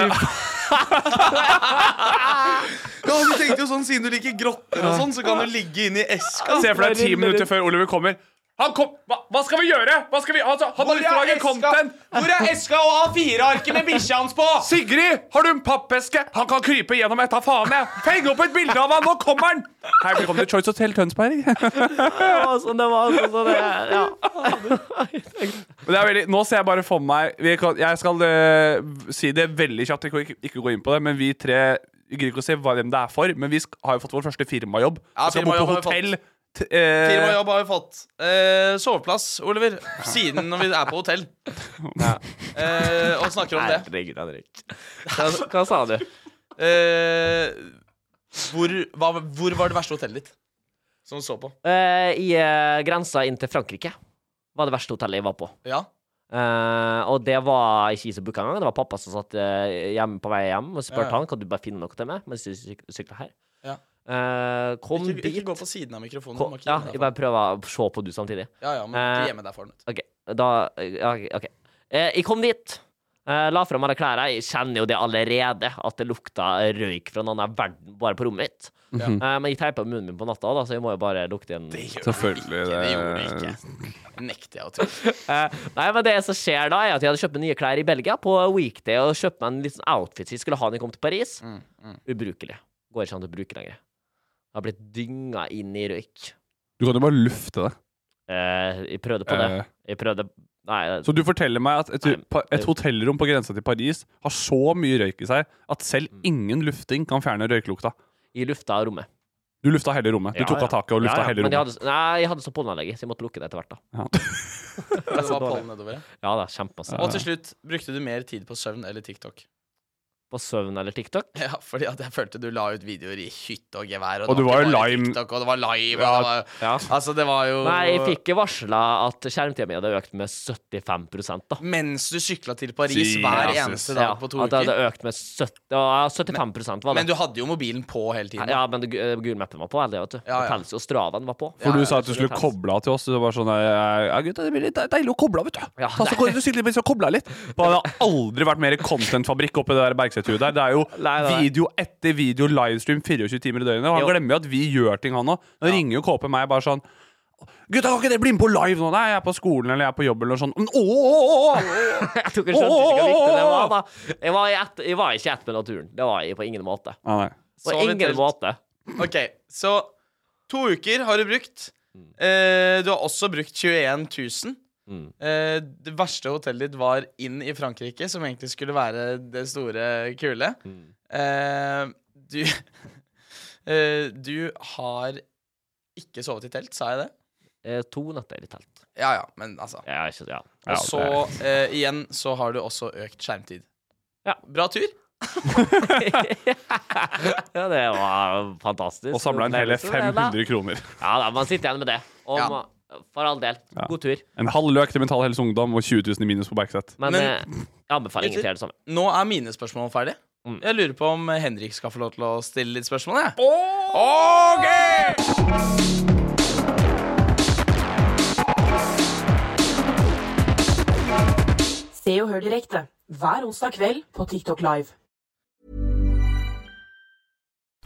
du tenkte jo sånn, Siden du liker grotter og sånn, så kan du ligge inni eska.
Se for deg ti minutter før Oliver kommer. Han kom, hva, hva skal vi gjøre? Hva skal vi, altså, han har lyst til å lage content!
Hvor er eska og A4-arket med bikkja hans på?
Sigrid, har du en pappeske? Han kan krype gjennom et av faen jeg! Feng opp et bilde av han, nå kommer han! Hei, velkommen til Choice Hotel Tønsberg.
det var sånn det var. Sånn, som det er, ja.
Men det er veldig, nå ser jeg bare for meg vi kan, Jeg skal eh, si det veldig kjapt, ikke, ikke- ikke gå inn på det, men vi tre Vi gidder ikke å se hva- hvem det er for, men vi sk har jo fått vår første firmajobb.
Ja,
Vi skal bo på
firmajobb har vi
hotell.
fått.
t- eh,
Firmajobb har vi fått. Eh, soveplass, Oliver. Siden når vi er på hotell. Eh, og snakker om det.
Herregud, Henrik. Hva, hva sa du?
Eh, hvor, hva, hvor var det verste hotellet ditt? Som du så på?
Eh, I eh, grensa inn til Frankrike var det verste hotellet jeg var på.
Ja?
Eh, og det var ikke jeg som booka engang. Det var pappa som satt eh, hjemme på vei hjem og spurte
Ja, ja.
han Kan du bare finne noe til meg mens jeg syk sykla her.
Ja.
Eh, kom
Ikke, ikke
dit.
gå på siden av mikrofonen. du
Kom,
må ikke
ja,
gjemme deg
jeg
for
bare prøver å se på du samtidig.
den. ja, ja, men ikke
Eh,
gjemme deg for den.
OK. Da ja, OK. Eh, jeg kom dit. eh, la fram alle klærne. Jeg kjenner jo det allerede, at det lukta røyk fra noen av verden bare på rommet mitt.
Ja.
Eh, men jeg teipa munnen min på natta, da, så jeg må jo bare lukte igjen.
Selvfølgelig. eh,
Det gjorde
Det,
du ikke. Det nekter jeg å tro.
Eh, nei, men det som skjer da, er at jeg hadde kjøpt meg nye klær i Belgia på weekday, og kjøpt meg en liten outfit jeg skulle ha når jeg kom til Paris.
Mm,
Ubrukelig. Går ikke an å bruke lenger. Jeg har blitt dynga inn i røyk.
du kan jo bare lufte det.
Eh, jeg prøvde på det.
Eh.
Jeg prøvde Nei,
Så du forteller meg at et,
Nei, men-
pa- et hotellrom på grensa til Paris har så mye røyk i seg at selv
Mm.
ingen lufting kan fjerne røyklukta.
jeg lufta rommet.
Du lufta hele rommet. Du
Ja,
tok
ja.
av taket og lufta
ja, ja.
hele
Men jeg
rommet.
hadde, nei, jeg hadde så pollenallergi, så jeg måtte lukke det etter hvert, da.
Det var
så dårlig.
pollen nedover, ja.
Ja da, kjempemasse.
Og til slutt, brukte du mer tid på søvn eller TikTok?
På søvn eller TikTok?
Ja, fordi at jeg følte du la ut videoer i hytte og gevær.
Og
det
du var jo
ikke bare
lime-
TikTok, og det var live,
Ja,
og det var,
Ja.
altså, det var jo
Nei, jeg fikk varsla at skjermtida mi hadde økt med 75 da.
Mens du sykla til Paris
Jesus.
hver eneste dag
Ja,
på to
At det hadde
uker.
økt med 70, ja, 75 var det.
Men du hadde jo mobilen på hele tiden.
Ja, men det gu- eh, gule mappen var på. Eller, vet du.
Ja, ja.
Og Pels og Stravan var på.
For
Ja,
du
ja,
sa at du skulle
absolutt.
koble av til oss. Så det var sånn eh, Ja, gutta, det blir litt deilig å koble av, vet du.
Ja,
Ta så går du sykler litt, så koble av litt. Det har aldri vært mer contentfabrikk oppi det der Bergset-huet der. Det er jo
Nei, nei.
video etter video, livestream 24 timer i døgnet. Og han
Jo.
glemmer jo at vi gjør ting, han òg. Han ringer jo KP meg bare sånn Gutta, kan ikke dere bli med på live nå? Nei, jeg er på skolen eller jeg er på jobb eller noe sånt. Men, ååå!
Jeg tror ikke jeg skjønte ikke hvor viktig det var, da. Jeg var, i ett- jeg var ikke i ett med naturen. Det var jeg på ingen måte.
Ja, nei.
På
Så
ingen
eventuelt-
måte.
Ok, så to uker har du brukt. Eh, du har også brukt 21 000.
Mm.
Eh, det verste hotellet ditt var inn i Frankrike, som egentlig skulle være det store kule. Eh, du eh, Du har ikke sovet i telt, sa jeg det?
Eh, To netter i telt.
Ja ja, men altså.
Jeg er ikke, ja.
Ja,
Og så eh, igjen så har du også økt skjermtid.
Ja.
Bra tur.
ja, det var fantastisk.
Og samla inn hele
Opplevelse, det da.
500 kroner.
Ja da, man sitter igjen med det. Og
Ja.
ma- for all del,
Ja.
god tur.
En halv løk til Mental Helse Ungdom og 20 000 i minus på Bergset.
Men,
Men-
eh, jeg anbefaler ingen til å gjøre det samme.
Nå er mine spørsmål ferdig.
Mm.
Jeg lurer på om Henrik skal få lov til å stille litt spørsmål. Jeg.
Se og hør direkte hver onsdag kveld på TikTok Live.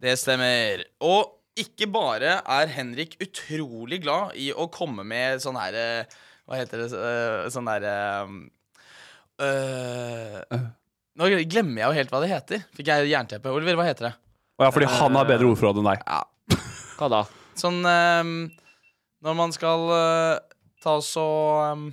Det stemmer. Og ikke bare er Henrik utrolig glad i å komme med sånn her eh, Hva heter det eh, Sånn her eh, øh, Nå glemmer jeg jo helt hva det heter. Fikk jeg jernteppe. Oliver, hva heter det?
Å ja, fordi han har bedre ordforråd enn deg.
Hva da?
Sånn eh, Når man skal eh, ta og så eh,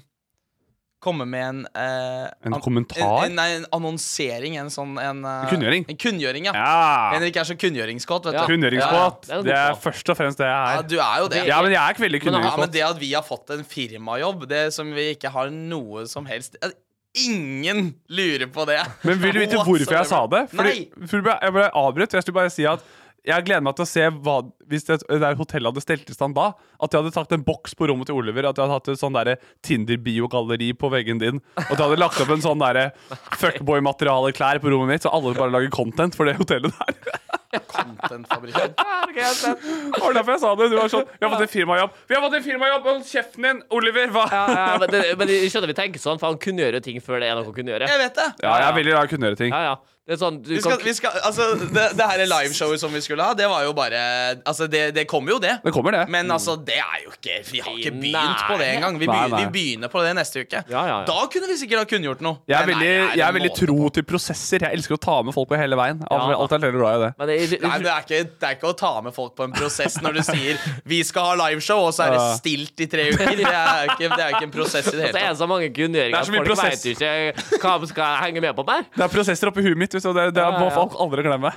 Komme med en eh,
En
an-
kommentar?
En, en, nei, en annonsering. En sånn en, eh,
En kunngjøring.
En kunngjøring, ja.
Ja.
Henrik er så kunngjøringskåt, vet
Ja.
du.
Kunngjøringskåt.
Ja, ja. Det er en god
Det er
kåt.
først og fremst det
Ja,
jeg er.
du er jo det.
Ja, men jeg er ikke veldig
Men
Ja, men
kunngjøringskåt.
det at vi har fått en firmajobb, det som vi ikke har noe som helst at Ingen lurer på det!
Men vil du vite hvorfor jeg sa det? Fordi,
Nei!
for jeg ble- jeg ble avbrutt. for Jeg skulle bare si at jeg gleder meg til å se hva, hvis det, det der hotellet hadde stelt i stand da. At de hadde tatt en boks på rommet til Oliver. At de hadde hatt et sånn derre Tinder-biogalleri på veggen din. Og at de hadde lagt opp en sånn derre fuckboy-materiale-klær på rommet mitt, så alle bare lager content for det hotellet der.
Contentfabrikken.
Det var derfor jeg sa det. Du var sånn Vi har fått en firmajobb! Vi har fått en firmajobb! Hold kjeften din, Oliver! Hva?
Ja, ja, men, det, men jeg skjønner vi tenker sånn, for han kunne gjøre ting før det er noe han kunne gjøre.
Jeg vet det!
Ja, jeg er veldig glad i å kunne gjøre ting.
Ja, ja. Det er sånn, du
Vi skal,
kan,
vi skal, altså, det, det her liveshowet som vi skulle ha, det var jo bare Altså, det, det kom jo, det.
Det kommer, det.
Men altså, det er jo ikke Vi har ikke begynt
Nei.
på det engang. Vi,
Nei,
begyn-
nei.
vi begynner på det neste uke.
Ja, ja, ja.
Da kunne vi sikkert ha kunngjort noe.
Jeg er
Men nei,
veldig,
det
jeg er
en
veldig
måte
tro
på-
til prosesser. Jeg elsker å ta med folk på hele veien. Alt,
Ja.
alt er veldig glad i det.
men jeg, jeg,
Nei, men det er, ikke, det er ikke å ta med folk på en prosess når du sier 'vi skal ha liveshow', og så er det
Ja.
stilt i tre uker. Det er ikke, det er ikke en prosess i det
altså,
hele
er
tatt.
det så mange
Det
kunngjøringer
er
at
så mye
folk vet
prosess.
jo ikke hva de skal henge med på der.
Det er prosesser oppi huet mitt. Så det, det
Ja,
må
ja.
folk aldri glemme.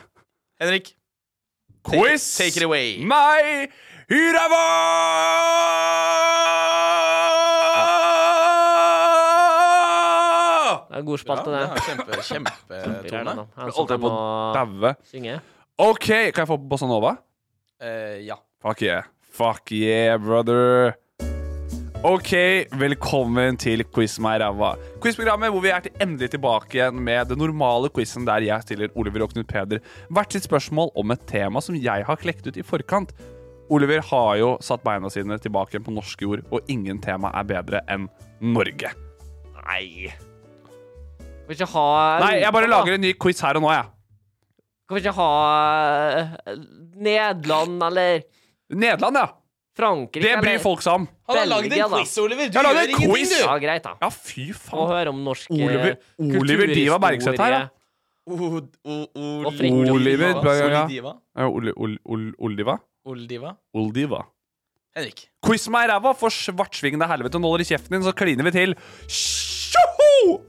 Henrik,
Quiz!
take it away.
Nei! Hyrava!
Det er en god spalte,
det
det.
er kjempe, kjempetone.
Han som
Holdt
kan
jeg på
å
å daue.
synge.
OK, kan jeg få Bossa Nova?
Eh, ja.
Fuck yeah. Fuck yeah, brother. Ok, velkommen til Quiz meg ræva. Quizprogrammet hvor vi er til endelig tilbake igjen med den normale quizen der jeg stiller Oliver og Knut Peder hvert sitt spørsmål om et tema som jeg har klekt ut i forkant. Oliver har jo satt beina sine tilbake igjen på norsk jord, og ingen tema er bedre enn Norge.
Nei. Kan vi ikke ha
Nei, jeg bare lager en ny quiz her og nå, jeg.
Kan vi ikke ha eh, Nederland eller
Nederland, ja.
Frankrike
Det
eller
bryr folk seg om.
Han har lagd
Belgia,
en
da.
quiz, Oliver. Du
Jeg har lagd
gjør
en
ingenting,
quiz.
du.
Ja, greit, da.
Ja, fy
Å
faen.
høre om norsk eh,
Oliver- Oliver
kulturhistorie.
Diva Bergseth her, ja.
O- o- o-
Og Fridtjof
Oliver
Diva.
Bra- Braga.
Solidiva.
Ja, Ol- Eh, Ol- Ol- Oldiva?
Oldiva.
Oldiva.
Henrik.
Quiz meg i ræva, for svartsvingende helvete nåler i kjeften din, så kliner vi til. Tjoho!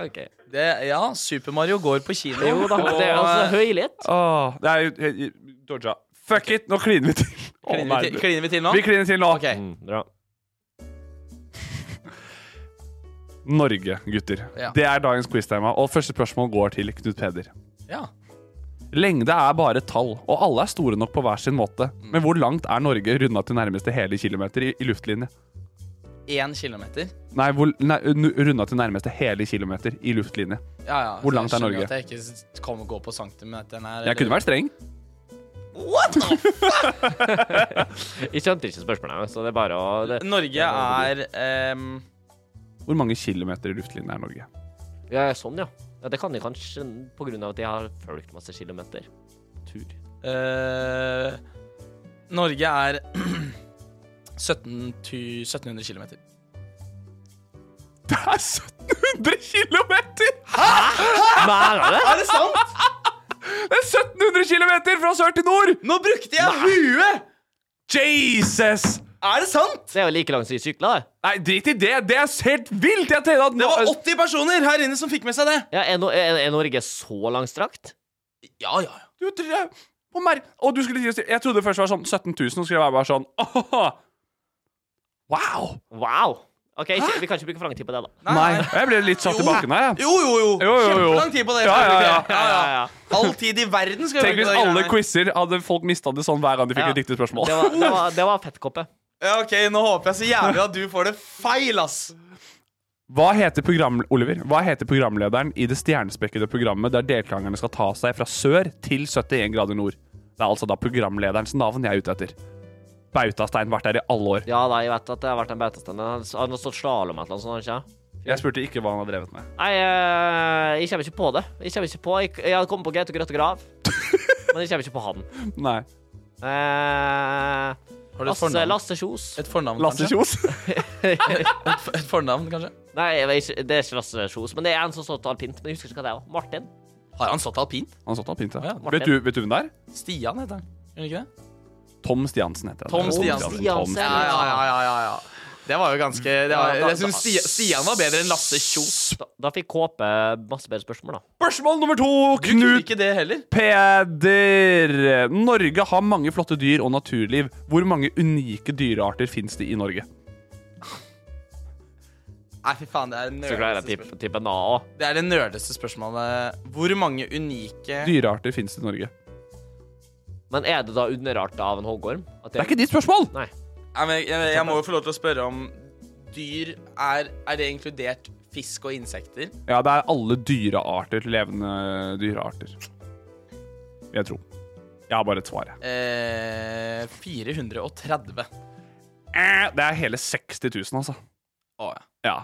Ok.
Det, ja, Super Mario går på kino.
Jo da,
og,
det er altså
eh,
høylytt.
Åh, det er jo he- he- Georgia. Fuck it, nå kliner vi til. Åh,
kliner,
nei.
vi til, kliner vi til nå?
Vi kliner til nå.
Ok.
Bra.
Norge, gutter.
Ja.
Det er dagens quiztema, og første spørsmål går til Knut Peder.
Ja.
Lengde er bare et tall, og alle er store
Mm.
nok på hver sin måte. Men hvor langt er Norge runda til nærmeste hele kilometer i, i luftlinje?
én kilometer.
Nei, hvor, nei, nu- runda til nærmeste hele kilometer i luftlinje.
Ja, ja.
Hvor langt er
Jeg skjønner
Norge?
At jeg ikke s- kommer gå på centimeteren her.
Jeg kunne vært streng.
What the f-
Jeg skjønte ikke spørsmålet, så det er bare å det,
Norge er ehm,
Hvor mange kilometer i luftlinje er Norge?
Ja, sånn, ja. ja. Det kan jeg kanskje på grunn av at jeg har fulgt masse kilometer. Tur.
eh, Norge er 17 tu- 1700 kilometer.
Det er 1700 kilometer!
Mener du det?
Er det sant?!
Det er 1700 kilometer fra sør til nord!
Nå brukte jeg huet!
Jesus!
Er det sant?!
Det er jo like langt som jeg sykla, det.
Nei, drit i det. Det er helt vilt! Jeg tenkte at
Det
nå,
var 80 personer her inne som fikk med seg det.
Ja, er, no, er, er Norge så langstrakt?
Ja, ja, ja.
Du, du, jeg- på mer og du skulle si oss Jeg trodde det først var sånn 17 000, og skulle jeg være bare sånn «Åhåhå». Wow!
Wow. OK, ikke- vi kan ikke bruke for lang tid på det, da.
Nei. Jeg ble litt satt i bakken her, jeg.
Jo, jo, jo.
Jo, jo, jo.
Kjempelang tid på det.
Ja, ja, ja.
ja.
All tid i verden skal
Tenk
bruke
hvis
på det
alle
greiene.
quizer hadde folk mista det sånn hver gang de fikk
Ja.
et riktig spørsmål.
Det var, det var, det var fettkoppe.
Ja, ok, Nå håper jeg så jævlig at du får det feil, ass.
Hva heter, program, Oliver, hva heter programlederen i det stjernespekkede programmet der deltakerne skal ta seg fra sør til 71 grader nord? Det er altså da programlederens navn jeg er ute etter. Bautastein vært der i alle år.
Ja da, jeg vet at det har vært en beitestand. Han han har stått slalåm eller noe sånt. har han Ikke?
Jeg spurte ikke hva han har drevet med.
Nei, eh, jeg kommer ikke på det. Jeg kommer ikke på Jeg, jeg hadde kommet på Gaute Grøtte Grav, men jeg kommer ikke på han.
Nei.
Eh,
Har
Lasse, Lasse Kjos.
Et fornavn,
Lasse
kanskje?
Kjos.
Et fornavn, kanskje?
Nei, jeg vet ikke, det er ikke Lasse Kjos, men det er en som står til alpint. Men jeg husker ikke hva det er. Martin.
Har han stått alpint?
Han satt og pinte.
Ja,
Martin.
vet, du, vet du hvem det er?
Stian heter han. Gjør han ikke det?
Tom Stiansen heter han.
Tom Stiansen.
Stiansen.
Tom.
Ja, ja, ja. ja, ja, ja. Det var jo ganske det var,
Ja, da-
Jeg synes
da-
Stian, Stian var bedre enn Lasse Kjos.
Da, da fikk Kåpe masse bedre spørsmål, da.
Spørsmål nummer to,
Du kunne
Knut
ikke det heller.
Peder. Norge har mange flotte dyr og naturliv. Hvor mange unike dyrearter fins det i Norge?
Nei, fy faen, det er det
Så klarer jeg å
nerdeste,
tippe- tippe en A òg.
spørsmålet. det er det nerdeste spørsmålet. Hvor mange unike
Dyrearter fins det i Norge.
Men er det da underarta av en hoggorm? At
Det er ikke ditt spørsmål!
Nei.
Nei, men jeg, jeg, jeg må jo få lov til å spørre om dyr er, er det inkludert fisk og insekter?
Ja, det er alle dyrearter, levende dyrearter. Jeg tror. Jeg har bare et svar. jeg.
Eh, 430.
Eh, Det er hele 60 000, altså.
Å ja.
Ja.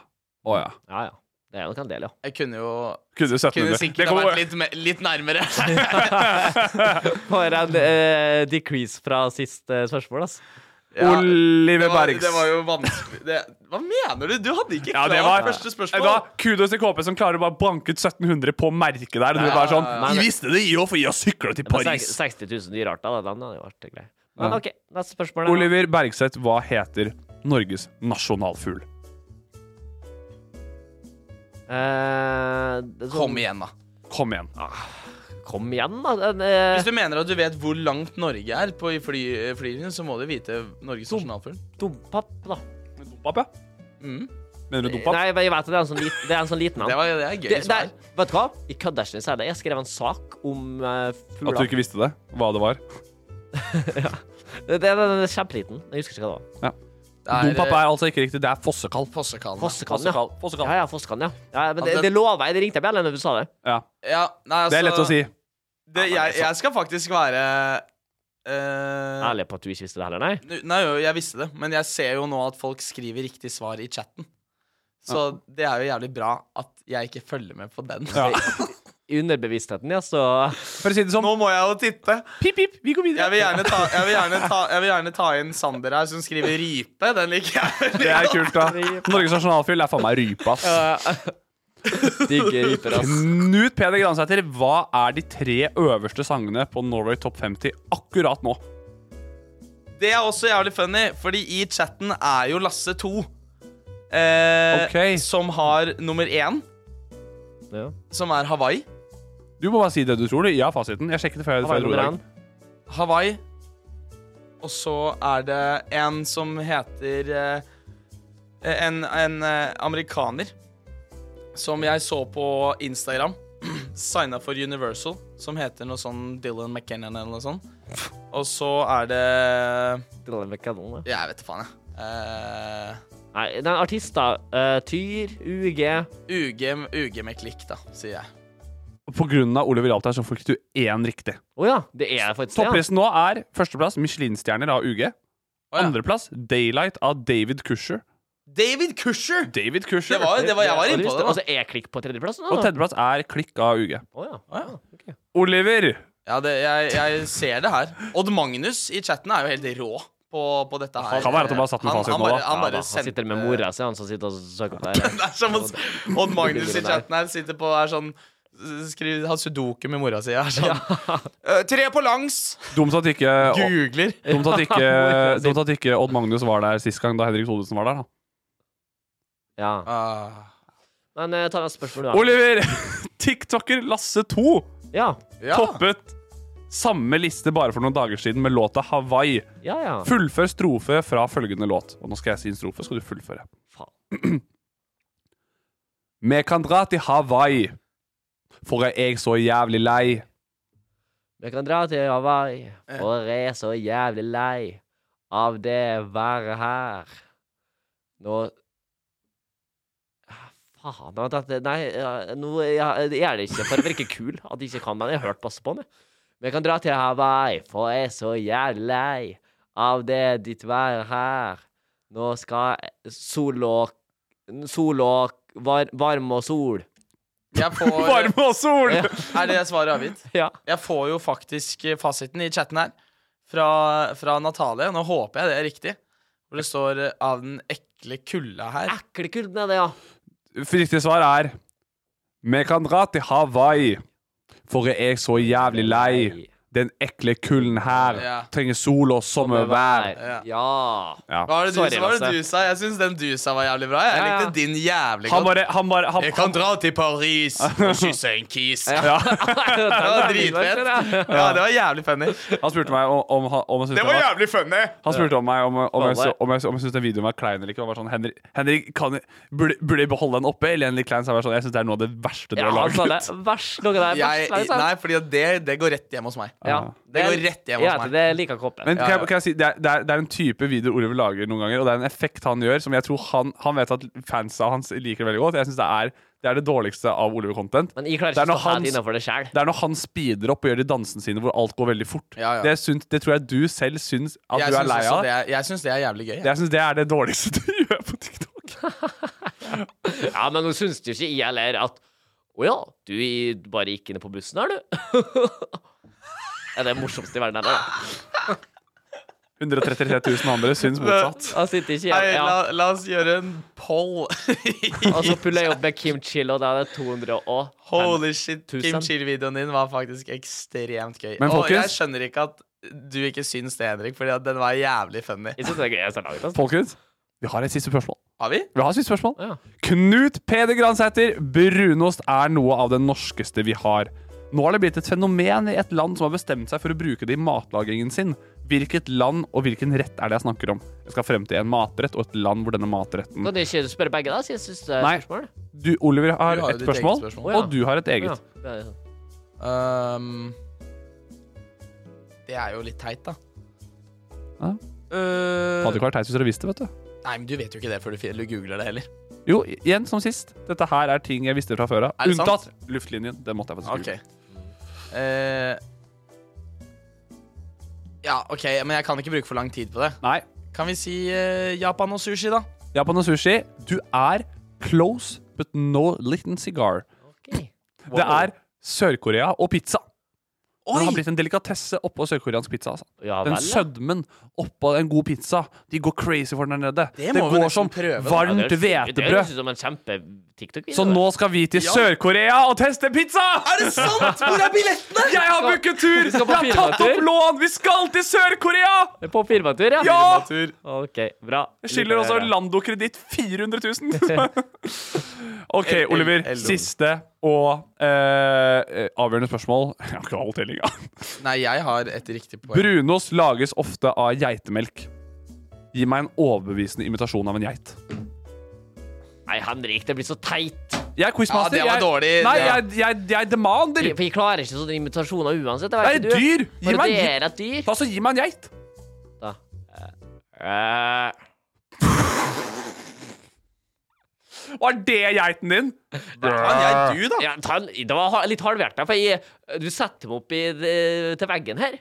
Å ja.
Ja, ja. Det er nok en del, ja.
Jeg kunne jo
Kunne 1700.
kunne
Det
sikkert ha
kommer-
vært litt, me- litt nærmere.
For en eh, decrease fra sist eh, spørsmål, altså.
Ja,
Oliver
det, var,
Bergs.
det var jo vanskelig det, Hva mener du? Du hadde ikke
Ja,
klart
det var,
første spørsmål.
Da, kudos til KP som klarer å bare banke ut 1700 på merket der. Og du bare sånn
ja.
Vi visste det, jo, for vi har sykla til
Men sek-
Paris.
60 000 dyrearter, da. Den hadde jo vært grei. Men
Ja.
OK, neste spørsmål. er-
Oliver Bergseth, hva heter Norges nasjonalfugl?
Eh, det-
Kom igjen, da.
Kom igjen.
Kom igjen, da. Den, eh,
Hvis du mener at du vet hvor langt Norge er på i fly, eh, flylinjen, så må du vite Norges nasjonalfugl.
Dompap, da.
Dompap, ja.
Mm.
Mener du dompap?
Nei, men jeg vet at det er en sånn, lit, det er en sånn liten en.
Det, var, det er gøy
Det- det
svar.
er- vet du hva? I køddersen sier jeg det. Jeg skrev en sak om uh,
At
fugler.
du ikke visste det? Hva det var?
Det, det, den er kjempeliten. Jeg husker ikke hva det var.
Det
Dompap
er eh,
er altså ikke riktig. Det er fossekall.
Fossekallen.
Fossekann, ja.
Fossekall. Fossekall.
Ja, ja, Fossekann, ja. ja men det,
Altså,
det lover jeg. Det ringte jeg bjellen da du sa det.
Ja.
Ja, nei, altså,
Det er lett å si.
det- jeg, jeg skal faktisk være eh,
Ærlig på at du ikke visste det heller, nei.
nu- Nei, jo, jeg visste det, men jeg ser jo nå at folk skriver riktig svar i chatten. Så det er jo jævlig bra at jeg ikke følger med på den.
I underbevisstheten, ja, så
For å si det sånn
Nå må jeg jo titte.
Pip, pip, vi går
Jeg
videre.
vil, gjerne ta, jeg, vil gjerne ta, jeg vil gjerne ta inn Sander her, som skriver rype. Den liker jeg. veldig
Det er
godt.
kult, da. Norges nasjonalfugl er faen meg rype, ass.
digge ryper, ass.
Knut Peder Gransæter, hva er de tre øverste sangene på Norway Top 50 akkurat nå?
Det er også jævlig funny, fordi i chatten er jo Lasse 2. Eh,
Ok.
Som har nummer én,
Ja.
som er Hawaii.
Du må bare si det du tror, du. Ja, fasiten. Jeg sjekket det før jeg,
Hva
før
var
jeg
det
dro i
nummer
dag.
én?
Hawaii. Og så er det en som heter eh, En, en eh, amerikaner som jeg så på Instagram. Signa for Universal, som heter noe sånn Dylan McKennan eller noe sånt. Og så er det
Dylan McKenna, ja.
Jeg vet da faen, jeg. Eh,
Nei, Nei, den artister eh, Tyr, UG
UG, UG med klikk, da, sier jeg.
På grunn av Oliver Alter så fikk du én riktig.
Å ja, det er faktisk det.
Topplisten nå er førsteplass Michelin-stjerner av UG.
Å, ja.
Andreplass Daylight av David Cusher.
David Kusher!
David Cusher.
Det var jo det var, jeg var inne på. det
Og
da.
så Altså, er klikk på tredjeplass nå?
Og
da?
tredjeplass er Klikk av UG.
Å ja. ok.
Oliver!
Ja, det, jeg, jeg ser det her. Odd Magnus i chatten er jo helt rå på, på dette her.
Kan være at han bare satt med
Han-
fasiten
han
nå, da.
bare- Han
Ja, da,
bare
han
sendte
sitter med mora si, han som sitter og søker på det.
Det er som at Odd Magnus i chatten her sitter på er sånn Skriver, har sudoku med mora si. Er sånn. «Eh, tre på langs!
Dumt at ikke,
Googler.
dumt at ikke, dumt at ikke Odd Magnus var der sist gang da Henrik Thodesen var der. Da.
Ja.
Ah.
Men eh, ta et spørsmål, du.
Oliver! TikToker Lasse 2
da. Ja.
Ja.
toppet samme liste bare for noen dager siden med låta Hawaii.
Ja, ja.
Fullfør strofe fra følgende låt. Og nå skal jeg si en strofe, skal du fullføre.
Faen.
Vi kan dra til Hawaii, for jeg er så jævlig lei.
Vi kan dra til Hawaii, for jeg er så jævlig lei av det været her. Nå Ah, Faen, nå, dette, nei, ja, nå ja, det er det ikke for å virke kul at jeg ikke kan den. Jeg har hørt masse på den. jeg. Vi kan dra til Hawaii, for jeg er så jævlig lei av det ditt været her. Nå skal sol og Sol og var, varme og sol.
Jeg får,
Varme og sol!
Ja.
er det svaret avgitt?
Ja.
Jeg får jo faktisk eh, fasiten i chatten her fra, fra Natalie. Nå håper jeg det er riktig. Hvor det står eh, 'av den ekle kulda her'.
Ekle kulden er det, ja.
Riktig svar er Vi kan dra til Hawaii, for jeg er så jævlig lei. Den ekle kulden her
Ja.
trenger sol og sommervær.
Ja.
Ja.
Ja.
Hva var det du,
Sorry,
hva var det
Lasse.
du sa? Jeg syns den du sa, var jævlig bra. Jeg
Ja, ja.
likte din jævlig
Han
godt.
bare, han bare han,
Jeg kan dra til Paris og kysse en kis. Det
ja.
var dritfett. Ja, det var jævlig funny.
han spurte meg om, om, han- om jeg
Det
syntes den
var
var-
jævlig funny!
Han spurte om meg om, om, jeg,
Alle.
så- om, jeg, om jeg syntes den videoen var klein eller ikke. Og var sånn, Henrik, Henrik kan, jeg- burde, burde jeg beholde den oppe? Eller Henrik Klein sa jeg sånn, jeg syns det er noe av det verste dere
Ja,
har
han sa det.
laget.
Verst noe der.
Jeg,
Verst, altså. nei, sa han.
nei, fordi det, det går rett hjem hos meg.
ja.
Det går rett hjem
Ja,
hos meg.
det liker jeg ikke
Men
opp.
kan jeg, kan jeg si, det, er, det, er, det er en type videoer Oliver lager noen ganger, og det er en effekt han gjør som jeg tror han, han vet at fansa hans liker veldig godt. Jeg synes det er det er det dårligste av Oliver-content.
Men jeg klarer
Det er
ikke å
når
stå
han-
helt innenfor det selv
Det er når han speeder opp og gjør de dansene sine hvor alt går veldig fort.
Ja, ja.
Det, syns, det tror jeg du selv syns at
Jeg
du er
syns
lei
også
av.
det er- Jeg syns det er jævlig gøy. jeg.
Jeg syns det er det dårligste du gjør på TikTok.
Ja, men nå syns du ikke jeg heller at Å ja, du i- bare gikk inn på bussen her, du? er det morsomste i verden, eller?
133 000 andre syns motsatt.
Han sitter ikke
Nei,
igjen. Ja.
la, la oss gjøre en poll.
Og så puller jeg opp med Kim Chill, og da er det 200 og
Holy shit, Kim
Tusen.
Chill-videoen din var faktisk ekstremt gøy.
Men
Og jeg
folkens-
skjønner ikke at du ikke syns det, Henrik, fordi at den var jævlig funny.
Jeg syns det er gøy. Jeg ser laget, altså.
Folkens, vi har et siste spørsmål.
Har vi?
Vi har et siste spørsmål.
Ja.
Knut Peder Gransæter, brunost er noe av det norskeste vi har. Nå har det blitt et fenomen i et land som har bestemt seg for å bruke det i matlagingen sin. Hvilket land og hvilken rett er det jeg snakker om? Jeg skal frem til en matrett og et land hvor denne matretten
Kan du ikke spørre begge, da? Siden jeg syns det er
Nei.
spørsmål.
Du, Oliver,
Du
har,
har jo
et
ditt eget
spørsmål,
spørsmål.
Å, ja.
og du har et
Ja.
eget.
det er sånn.
Ehm, det er jo litt teit, da.
Ja.
Eh,
Hadde ikke vært teit hvis dere visste, vet du.
nei, men du vet jo ikke det før du, fi- du googler det heller.
Jo, igjen som sist. Dette her er ting jeg visste fra før av.
Er det sant?
Unntatt luftlinjen. Det måtte jeg
Ok.
faktisk
Eh, ja, OK, men jeg kan ikke bruke for lang tid på det.
gjøre. Nei.
Kan vi si eh, Japan og sushi, da?
Japan og sushi, du er close but no liten cigar.
Ok.
Det er Sør-Korea og pizza. Den har
Oi!
blitt en delikatesse oppå sørkoreansk pizza. Altså.
Ja
Den
vel, ja.
sødmen oppå en god pizza. De går crazy for den der nede.
Det
Det,
må vi
går
nesten
som
prøve, da.
Ja,
varmt
det høres- Det høres
hvetebrød.
ut som en kjempe-TikTok-video.
Så nå skal vi til Sør-Korea og teste pizza!
Er det sant?! Hvor er billettene?!
Jeg har booket tur!
Vi
Jeg
skal på
har tatt opp
firmatur.
lån! Vi skal til Sør-Korea!
det. På firmatur, ja?
Ja!
OK, bra.
Jeg skylder også Lando kreditt 400 000. OK, Oliver.
el- el-
Siste og eh, avgjørende spørsmål. Jeg har ikke all tellinga.
Nei, jeg har et riktig poeng.
Brunost lages ofte av geitemelk. Gi meg en overbevisende imitasjon av en geit.
Nei, Henrik, det blir så teit.
Jeg er quizmaster.
Ja, det var
jeg-
dårlig.
Nei,
Ja.
jeg, jeg, jeg demander.
For jeg klarer ikke sånne invitasjoner uansett.
Det er et dyr. Gi meg en
Parodierer
geit.
et dyr.
Ta så gi meg en geit.
Eh,
Var det geiten din?
Faen, jeg er du, da.
Ja, ta, en- det var ha- litt halvhjerta, for jeg, du setter meg opp i, det- til veggen her.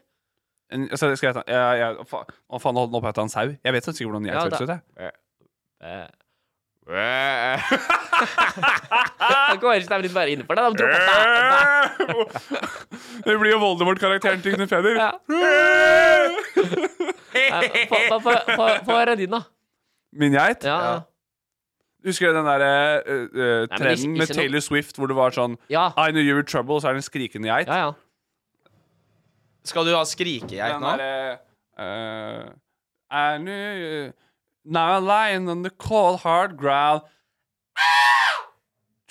En- Så skal jeg ta jeg, jeg, fa, Å faen, nå holdt den opp etter en sau. Jeg vet ikke hvordan
Ja,
geit
da-
høres ut, jeg.
Eh. Da går ikke de litt bare inn for det. De dropper bæ, bæ.
Det blir jo Voldemort-karakteren til Knut Peder.
Ja. Eh, Få få- få- få- få høre din, da.
Min geit.
Ja, ja.
Husker du den der eh, eh,
men
trenden
ikke-
med
ikke noe-
Taylor Swift hvor det var sånn
Ja.
I know you were trouble, så er det en skrikende geit?
ja, ja.
Skal du ha skrikegeit
Den
nå?
derre eh, I knew you- Now I'm lying on the cold hard ground.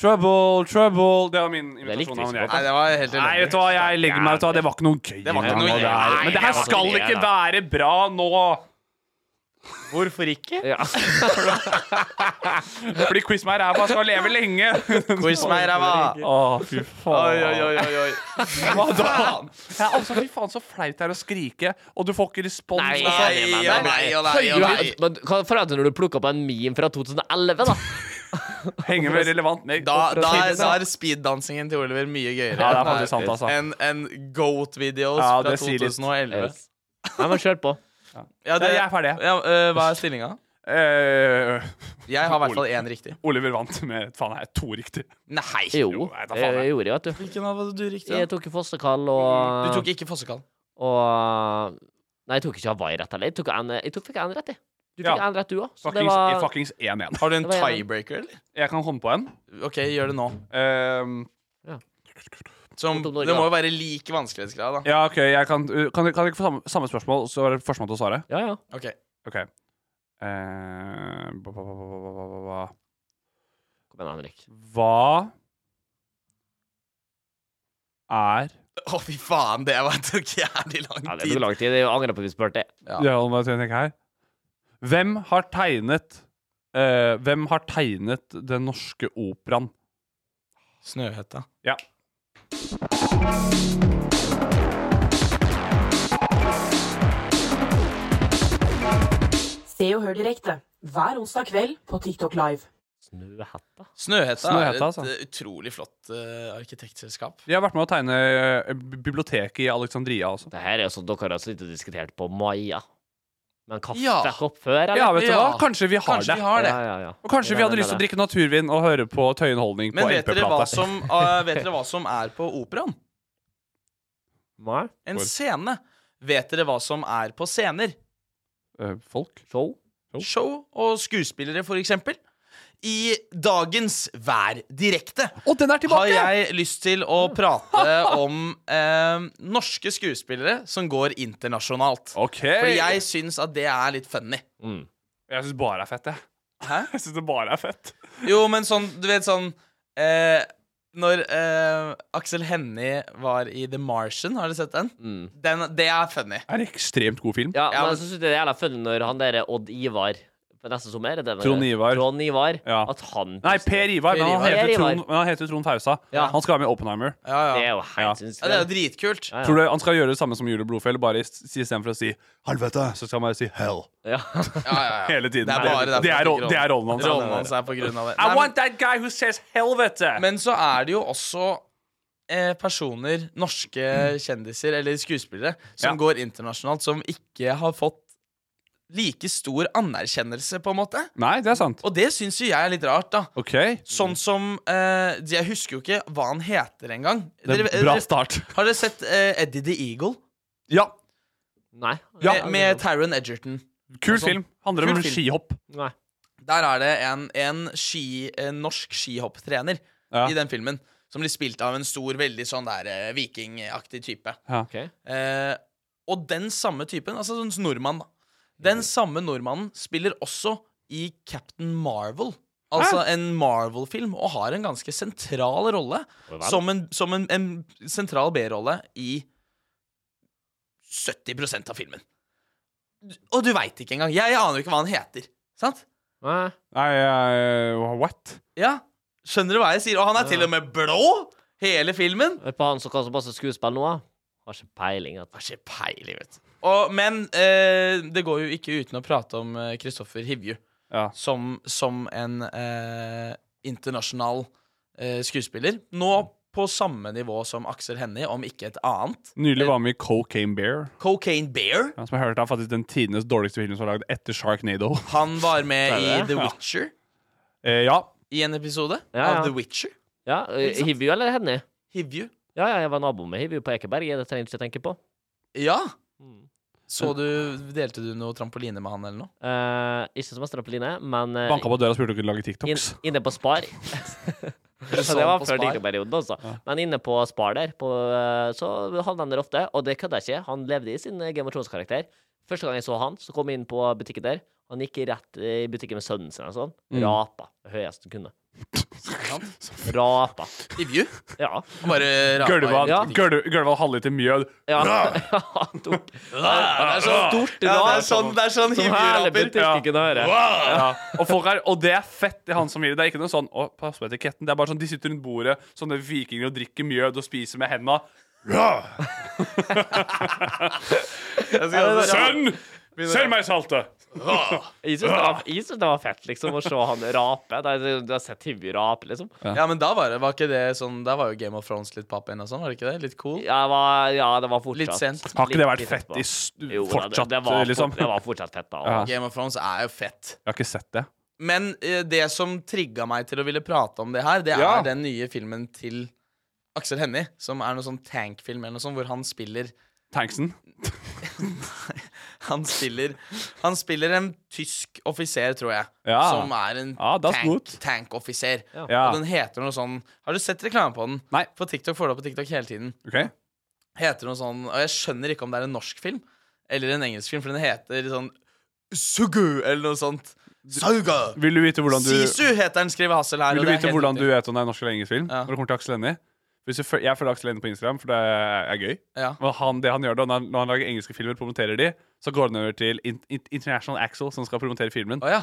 Trouble, trouble Det var min
Det likte
invitasjon
vi
av
ikke
en geit.
Nei, det var helt
Nei, vet du
elendig.
hva, jeg legger meg ut av det. var ikke noe gøy.
Det var ikke noe
Nei,
gøy.
nei, Men det her
Nei,
skal
det var
ikke
ikke
være bra nå!
Hvorfor ikke?
ja.
Fordi quiz meg i ræva skal leve lenge.
Quiz meg i ræva.
Å, fy
Oi,
faen.
oi, oi, oi, oi.
Hva da? Ja, altså, fy faen, så flaut det er å skrike, og du får ikke respons.
Nei,
og så-
Nei og nei og nei
Du,
og nei.
men hva forventer du når du plukker opp en meme fra 2011, da?
Henger med relevant med
Da, da, er-
altså.
da er speeddansingen til Oliver mye gøyere
Ja, det er faktisk sant, altså.
enn en Goat-videos
Ja,
fra
det sier litt.
2011.
Yes. Nei, men kjør på.
Ja, det,
Ja, jeg er ferdig.
Ja, øh, hva er stillinga?
Eh,
Jeg har i hvert fall én riktig.
Oliver vant med faen, jeg er to riktig.
Nei!
Jo,
Jo, nei, da
det
faen jeg.
gjorde jeg, vet du.
Hvilken av du riktig?
Jeg
da?
tok jo fosterkall
Du
og
tok ikke Fossekall.
Og Nei, jeg tok ikke Hawaii rett heller. Jeg tok, en, jeg tok fikk én rett, jeg. Du fikk
Ja.
én rett, du òg. Så det
Fuckings
var
fuckings 1-1.
Har du en
Det var jeg.
tiebreaker, eller?
Jeg kan komme på en.
OK, gjør det nå.
Eh,
Som,
Mot Norge,
det må
da.
jo være like vanskelighetsgrad, da.
ja, OK, jeg kan Kan, kan jeg ikke få samme, samme spørsmål, så er det førstemann til å svare?
Ja, ja.
Ok,
OK. Eh, ba, ba, ba, ba, ba, ba, ba, ba.
Kom igjen, Henrik.
Hva er
Å, fy faen, det var tok jævlig lang
Ja, det
tid.
tok lang tid. Jeg angrer på at vi spurte.
Ja.
Ja, nå må jeg tenke her. Hvem har tegnet eh, Hvem har tegnet Den norske operaen?
Snøhetta.
Ja.
Se og hør direkte hver onsdag kveld på TikTok Live.
Snøhetta?
Snøhetta,
Snøhetta,
er et
altså.
eh, utrolig flott eh, arkitektselskap.
De har vært med å tegne eh, biblioteket i Alexandria også.
Det her er jo sånn dere har sittet og diskutert på Maja. Men
Ja.
kaffekopp før, eller?
Ja, vet du
Ja.
hva? Kanskje vi har
Kanskje
det.
vi har det.
Ja, ja, ja.
Og kanskje vi
Ja,
hadde
den
lyst til
er
å
det.
drikke naturvin og høre på tøyenholdning på
Men vet dere, hva
LP-plate.
som, eh, vet dere hva som er på operaen?
Nei.
En
Hvor?
scene. Vet dere hva som er på scener?
Eh, folk?
Show?
Jo.
Show og skuespillere, for eksempel. I dagens Vær direkte
Å, den er
har
tilbake!
jeg lyst til å prate om eh, norske skuespillere som går internasjonalt.
OK.
Fordi
jeg
jeg syns at det er litt funny.
jeg syns bare det er fett, jeg.
Hæ?
Jeg syns det bare er fett.
Jo, men sånn, du vet sånn eh, Når eh, Aksel Hennie var i The Martian, har du sett den?
Mm.
den det er funny.
Det er en ekstremt god film.
Ja,
Ja, men
men-
jeg syns det er jævla funny når han derre Odd Ivar for neste sommer er det det
Trond
med-
Ivar.
Trond Ivar
Ja.
At han
Nei, Per Ivar,
Per
men han
Ivar.
heter
Per Ivar.
Trond, men han heter Trond Fausa.
Ja.
Han skal være med i Oppenheimer.
Ja,
Det
ja.
er jo
Ja.
helt
ja det er jo
sinnssykt.
dritkult.
Ja.
Tror du han skal gjøre det samme som Julie Blodfjell, bare i- si- istedenfor å si 'helvete', så skal han bare si 'hell'
Ja.
Ja, ja, ja.
hele tiden.
Det er bare derfor
det er,
jeg
ro-
liker
det er rollen hans.
Rollen hans er på grunn av det.
I
Nei, men-
want that guy who says 'helvete'.
Men så er det jo også eh, personer, norske kjendiser eller skuespillere, som
Ja.
går internasjonalt, som ikke har fått like stor anerkjennelse, på en måte.
Nei, det er sant.
Og det syns jo jeg er litt rart, da.
OK.
Sånn som eh, Jeg husker jo ikke hva han heter engang.
Det er
Dere-
en bra
dere-
start.
Har dere sett eh, Eddie the Eagle?
Ja.
Nei.
Med, med Taron Edgerton.
Kul film. Handler om
Altså, Kul
en
film.
skihopp.
Nei.
Der er det en, en, ski, en norsk skihopptrener
Ja.
i den filmen som blir spilt av en stor, veldig sånn der eh, vikingaktig type.
Ok.
Eh, og den samme typen, altså sånn nordmann, da. Den samme nordmannen spiller også i Captain Marvel. Altså en Marvel-film, og har en ganske sentral rolle. Som en, som en, en sentral B-rolle i 70 av filmen. Og du veit ikke engang. Jeg, aner jo ikke hva han heter. Sant?
Nei.
Nei, eh, what?
Ja, Skjønner du hva jeg sier? Og han er til og med blå! Hele filmen.
Hør på han som kan så masse skuespill nå. da. Har ikke peiling. At...
Har ikke peiling, vet du. Og, men eh, det går eh, jo ikke uten å prate om Kristoffer Hivju
Ja.
som, som en eh, internasjonal eh, skuespiller. Nå på samme nivå som Aksel Hennie, om ikke et annet.
Nylig var han med i Cocaine Bear.
Cocaine Bear.
Ja, som jeg hørte er faktisk den tidenes dårligste film som er lagd etter Sharknado.
Han var med i
det?
The
Ja.
Witcher
Eh, ja.
i en episode
Ja, ja.
av The Witcher.
Ja, eh, Hivju eller Henny?
Hivju.
Ja, ja, jeg var nabo med Hivju på Ekeberg. Det trenger jeg ikke tenke på.
Ja. Så du Delte du noe trampoline med han eller noe?
Eh, ikke som Astrid men eh,
Banka på døra og spurte om hun kunne lage
inn,
TikToks.
inne på Spar. Så
Så
det
Sånn
var
på
før
Spar.
digreperioden, altså. Men inne på Spar der, på, eh, så havna han der ofte. Og det kødda jeg ikke. Han levde i sin eh, Game of Thrones-karakter. Første gang jeg så han, så kom jeg inn på butikken der. Han gikk rett eh, i butikken med sønnen sin og sånn.
Mm.
Rapa. det Høyeste han kunne.
Sånn.
Rapa.
Hivju?
Ja.
Han bare
Gølva
rapa.
Ja.
gølv- gølva en halvliter mjød.
ja. Han tok
Det er så stort.
Ja,
det er sånn, det er sånn
som hele
Hivju-raper.
butikken hører.
Ja. Og, folk er, og det er fett, det er han som gir det. Det er ikke noe sånn å, pass på etiketten. Det er bare sånn, De sitter rundt bordet, sånne vikinger, og drikker mjød og spiser med henda.
altså-
Sønn! Send meg saltet!
Jeg syns det, var- jeg synes det var fett, liksom, å se han rape. Da- Du har sett Hivju rape, liksom.
Ja, men da var det var ikke det sånn Da var jo Game of Thrones litt papp igjen og sånn, var det ikke det? Litt cool?
Ja, det var, ja, det var fortsatt
Litt sent.
Har ikke det vært
litt
fett
etterpå.
i s-
Jo, da, det,
fortsatt,
det var,
liksom?
fort- Det var fortsatt fett, da.
Ja.
Game of Thrones er jo fett.
Jeg har ikke sett det.
Men eh, det som trigga meg til å ville prate om det her, det
Ja.
er den nye filmen til Aksel Hennie, som er noe sånn tankfilm eller noe sånt, hvor han spiller
Tanksen?
Han spiller Han spiller en tysk offiser, tror jeg,
Ja.
som er en
Ja, das
tank,
gut.
tankoffiser.
Ja.
Og den heter noe sånn Har du sett reklame på den?
Nei.
På TikTok får du opp på TikTok hele tiden.
OK?
heter noe sånn Og jeg skjønner ikke om det er en norsk film eller en engelsk film, for den heter sånn Sugu, eller noe sånt. Sauga!
Vil du vite hvordan du
Sisu heter den, skriver Hassel her.
Vil
og
du
det er
vite
helt
hvordan du
riktig.
vet om det er norsk eller engelsk film?
Ja.
Når det kommer til Aksel Hennie? Hvis du føl- Jeg følger Aksel Hennie på Instagram, for det er gøy.
Ja.
Og han, det han gjør da, når, han- når han lager engelske filmer, promoterer de, så går han over til in, in, International Axel, som skal promotere filmen.
Å ja.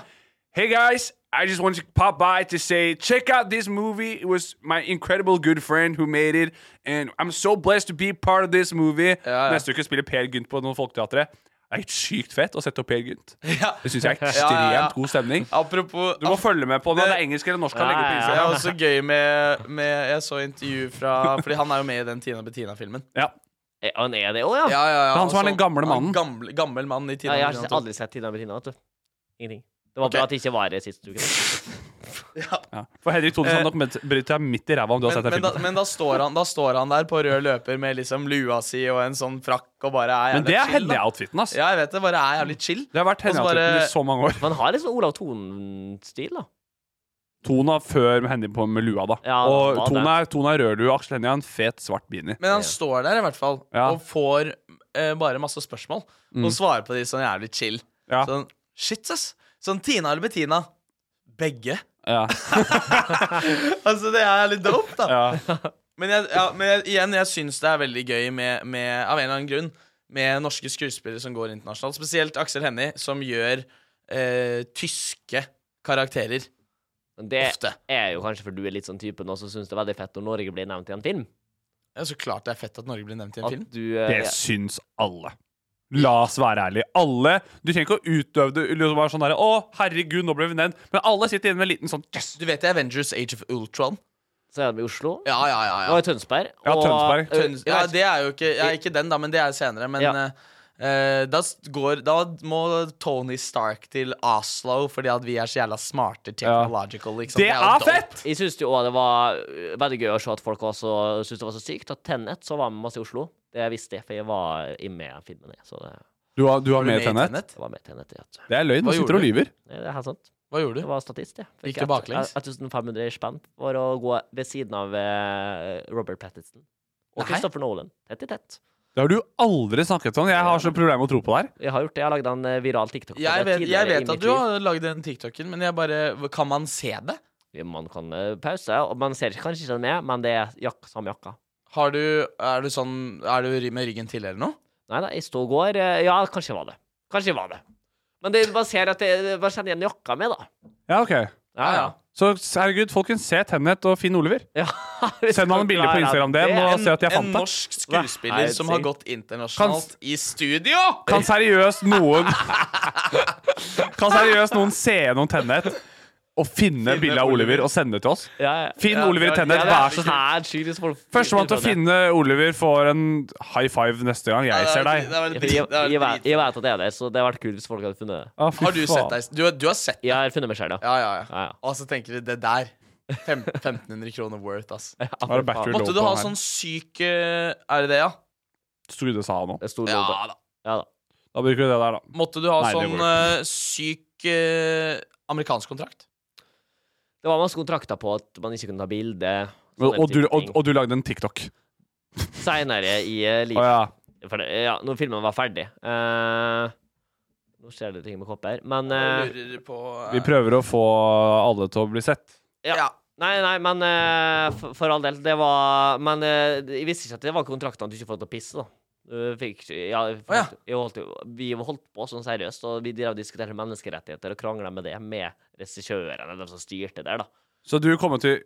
Hey guys, I just want to pop by to say check out this movie. It was my incredible good friend who made it, and I'm so blessed to be part of this movie.
ja.
Neste uke spiller Per Gynt på noen folketeatre. Det er helt sykt fett å sette opp Per Gynt.
Ja.
Det syns jeg er ekstremt
Ja, ja, ja.
god stemning.
Apropos
Du må følge med på om det
det-
er engelsk eller norsk.
Ja,
Han legger opp på
Det
ja,
Instagram.
er også gøy med, med Jeg så intervju fra Fordi han er jo med i den Tina Bettina-filmen.
Ja.
Eh, Han er det òg, ja.
Ja, ja, ja,
Det er han som
og
er den
så-
gamle
han
mannen.
Gammel, gammel mann i
ja.
Tina
Jeg
Bettina
har
to.
aldri sett Tina Bettina, vet du. Ingenting. Det var bra at det ikke var det sist uke.
Ja. For Henrik Thodesen
Eh,
hadde nok med- brytt deg midt i ræva om du har
Men,
sett den
men, da,
filmen.
men da, står han, da står han der på rød løper med liksom lua si og en sånn frakk og bare er
Men det
jævlig
er
chill, da.
Hennie-outfiten, ass.
Ja, jeg vet det. Bare er jævlig chill.
Det har vært
Og så bare-
Hennie-outfiten i så mange år.
Man har liksom Olav Thon-stil, da.
Tona før Hennie på med lua, da.
Ja,
og
hva det
Tona er, Tone er rødlue, Aksel Hennie har en fet, svart beanie.
Men han står der i hvert fall
Ja. Mm.
og får eh, bare masse spørsmål. Og svarer på de sånn jævlig chill.
Ja.
Sånn shit, ass. Sånn Tina eller Bettina? Begge.
Ja.
Altså, det er litt dope, da.
Ja.
Men, jeg, ja, men jeg, igjen, jeg syns det er veldig gøy med, med Av en eller annen grunn med norske skuespillere som går internasjonalt. Spesielt Aksel Hennie, som gjør eh, tyske karakterer.
Men Det
Ofte.
er jo kanskje for du er litt sånn typen også, som syns det er veldig fett når Norge blir nevnt i en film.
Ja, Så klart det er fett at Norge blir nevnt i en
At
film.
du eh,
Det syns alle. La oss være ærlige. Alle Du trenger ikke å utøve det liksom bare sånn derre Å, herregud, nå ble vi nevnt. Men alle sitter inne med en liten sånn yes.
Du vet det er Avengers Age of Ultron?
Så er de i Oslo.
Ja, ja, ja. ja.
Og i Tønsberg.
Ja,
og-
Tønsberg.
eh,
Tøns- ja, det er jo ikke ja, Ikke den, da, men det er senere. Men
Ja.
eh, eh, da, s- går, da må Tony Stark til Oslo fordi at vi er så jævla smarte technological. Liksom.
Det
jo
er
dope.
fett!
Jeg syns jo også det var øh, veldig gøy å se at folk også syntes det var så sykt. At Tennet så var med masse i Oslo. Det visste jeg, for jeg var i med i filmen. Jeg, så det,
Du har, du har
Var du
med Tennet?
Tenet?
jeg var med i Tennet. Jeg, vet du.
Det er løgn.
Hva
Du sitter og
gjorde
lyver.
Nei, det er helt sant.
Hva gjorde
Det
du?
var statist, jeg. Fikk
Gikk du baklengs?
1500 spenn for å gå ved siden av eh, Robert Pattinson. Og
Nei.
Christopher Nolan. Tett i tett.
Det har du aldri snakket sånn. Jeg har så problemer med å tro på det her.
Jeg har gjort det. Jeg har lagd en eh, viral TikTok. på
Jeg
det
vet, jeg
tidligere i
vet
mitt
at du
liv.
har lagd den TikToken, men jeg bare Kan man se det?
Man kan eh, pause, og man ser kanskje ikke den med, men det er jak samme jakka.
Har du Er du sånn Er du ry- med ryggen til eller noe?
Nei da, jeg sto og går. eh, Ja, kanskje jeg var det. Kanskje jeg var det. Men det, man ser at det, man kjenner igjen jakka mi, da.
Ja, ok
Ja, ja.
Så herregud, folkens, se Tennet og Finn Oliver.
Ja,
Send han en bilde på Instagram DM
sånn-
og se at jeg
En
fant det.
norsk skuespiller
Nei,
som har
si.
gått internasjonalt i studio!
Kan seriøst noen Kan seriøst noen se gjennom Tennet? å finne bilde av Oliver og sende det til oss.
Ja, ja.
Finn
Ja,
Oliver i
ja,
Tennet,
ja, det er
vær så snill.
Her, skyld, så folk-
Førstemann til å finne Oliver får en high five neste gang jeg ser deg.
Det var
Jeg,
drit-
jeg,
det var
jeg, vet, jeg
drit.
vet at det er der, så det hadde vært kult hvis folk hadde funnet det.
Å, fy
Har du sett
faen.
deg Du, du har sett
Jeg har funnet meg selv, ja.
Ja, ja,
Ja,
ja.
ja.
Og så tenker du det der. Fem, 1500 kroner worth, ass.
Har du battery low
Måtte
på
du ha
den her?
sånn syk eh, Er det det, ja?
Tror du det sa han òg.
Det sto
Ja
noe på.
da.
Ja da.
Da bruker vi det der, da.
Måtte du ha
Nei, det
sånn
går
eh, syk eh, amerikansk kontrakt?
Det var masse kontrakter på at man ikke kunne ta bilde.
Og, og, du, og, og du lagde en TikTok.
Seinere i eh,
Å
livet.
ja.
For det, ja, når filmen var ferdig. Eh, nå skjer det ting med kopper, men eh,
Jeg lurer på eh,
Vi prøver å få alle til å bli sett.
ja.
Ja.
Nei, nei, men eh, for, for all del, det var Men eh, jeg visste ikke at det var kontraktene at du ikke får lov til å pisse, da. Du fikk ikke ja, jeg
Å, ja.
holdt, jeg holdt, jo- Vi holdt på sånn seriøst, og vi drev og diskuterte menneskerettigheter og krangla med det med regissørene, eller de som styrte der, da.
Så du kommer til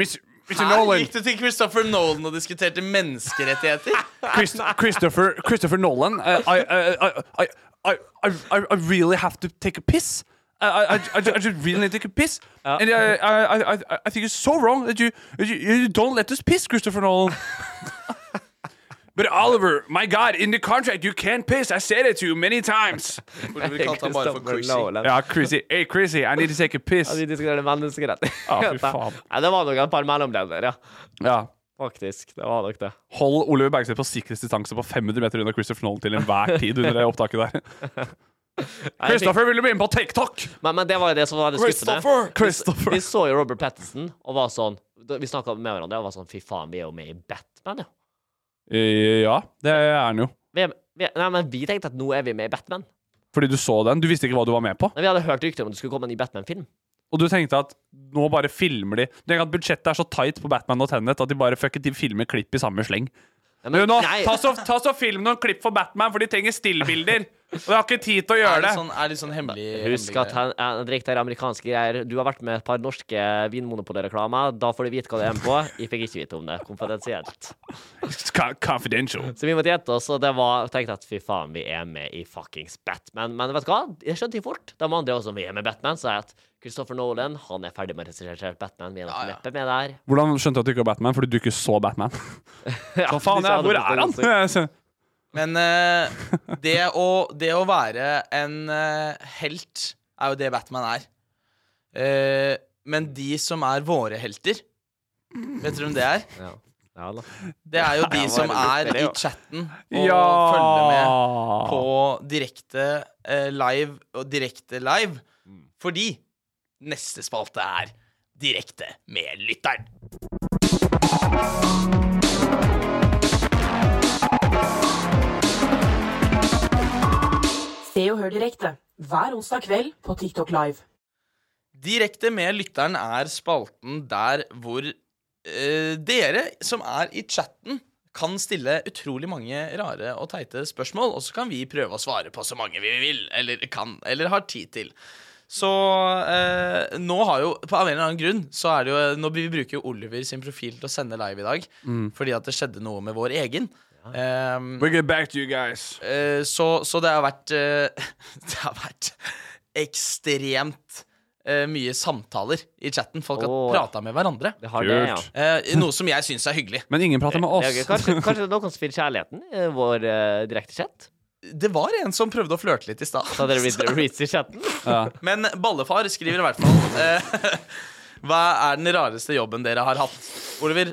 Miss, Mr.
Her
Nolan!
gikk du til Christopher Nolan og diskuterte menneskerettigheter?
Christ, Christopher, Christopher Nolan. Uh, I, I, I, I, I, I, I really have to take a piss. I, I, I, I ju- I just really need to take a piss. And I, I, I, I, I think it's so wrong that you, that you, you don't let us piss, Christopher Nolan. But Oliver, my God, in the contract you can't piss. I said it to you many times.
Oliver kalte han bare for
Christopher
Chrissy.
Nolan.
Ja, Chrissy. Hey, Chrissy, I need to take a
Ja,
piss.
de diskuterer menneskerettigheter.
Ja, fy faen.
Nei, det var nok et par mellomledd der, ja.
Ja.
Faktisk. Det var nok det.
Hold Oliver Bergseth på sikkerhetsdistanse på 500 meter unna Christopher Nolan til enhver tid under det opptaket der.
Nei, jeg
Christopher, vil du bli med på TikTok?
fikk- Men, men det var jo det som var det skuffende.
Christopher!
Vi så jo Robert Pattinson og var sånn da- Vi snakka med hverandre og var sånn Fy faen, vi er jo med i Batman, ja.
Eh, Ja, det er han jo.
Vi er, vi er, nei, men vi tenkte at nå er vi med i Batman.
Fordi du så den. Du visste ikke hva du var med på.
Nei, vi hadde hørt rykter om at det skulle komme en ny Batman-film.
Og du tenkte at nå bare filmer de. Du tenker at Budsjettet er så tight på Batman og Tenet at de bare fuck it, de filmer klipp i samme sleng.
Nei,
Du,
men-
nå,
nei,
ta så, ta så Film noen klipp for Batman, for de trenger stillbilder. Og de har ikke tid til å
Er
gjøre
det
det.
sånn, er det sånn hemmelig
Husk
hemmelig
at han, han drikker der amerikanske greier. Du har vært med et par norske vinmonopolreklamer. Da får du vite hva det er med på. Jeg fikk ikke vite om det. Konfidensielt.
Ca- Confidential.
Så vi måtte gjette oss, og det var tenkte at fy faen, vi er med i fuckings Batman. Men vet du hva? Jeg skjønte det fort. De andre også, vi er med i Batman, sa jeg at Christopher Nolan han er ferdig med å regissere Batman. Vi er nok neppe med der.
Hvordan skjønte du at du ikke var Batman? Fordi du ikke så Batman. Hva faen
de sa
er, hvor
det på
er han?
Twitter også.
Men eh, det, å, det å være en eh, helt er jo det Batman er. Eh, men de som er våre helter Vet dere hvem det er?
Ja. Ja, da.
Det er jo de som er i chatten og følger med på direkte eh, live og direkte live. Fordi neste spalte er Direkte med lytteren.
Se og hør direkte hver onsdag kveld på TikTok Live.
Direkte med lytteren er spalten der hvor eh, dere som er i chatten, kan stille utrolig mange rare og teite spørsmål, og så kan vi prøve å svare på så mange vi vil, eller kan, eller har tid til. Så eh, nå har jo På av en eller annen grunn så er det jo Nå vi bruker jo Oliver sin profil til å sende live i dag, fordi at det skjedde noe med vår egen. Ehm,
We'll get back to you guys.
Eh, så, så det har vært eh, Det har vært ekstremt eh, mye samtaler i chatten. Folk har
Åh.
prata med hverandre.
Det har det, ja.
Kult.
Eh, noe som jeg syns er hyggelig.
Men ingen prater med
Det er gøy.
oss.
Kanskje, kanskje det er noen som finner kjærligheten i vår uh, direktechat?
Det var en som prøvde å flørte litt i stad.
Så hadde det blitt reach i chatten.
Ja.
Men Ballefar skriver i hvert fall eh, Hva er den rareste jobben dere har hatt? Oliver,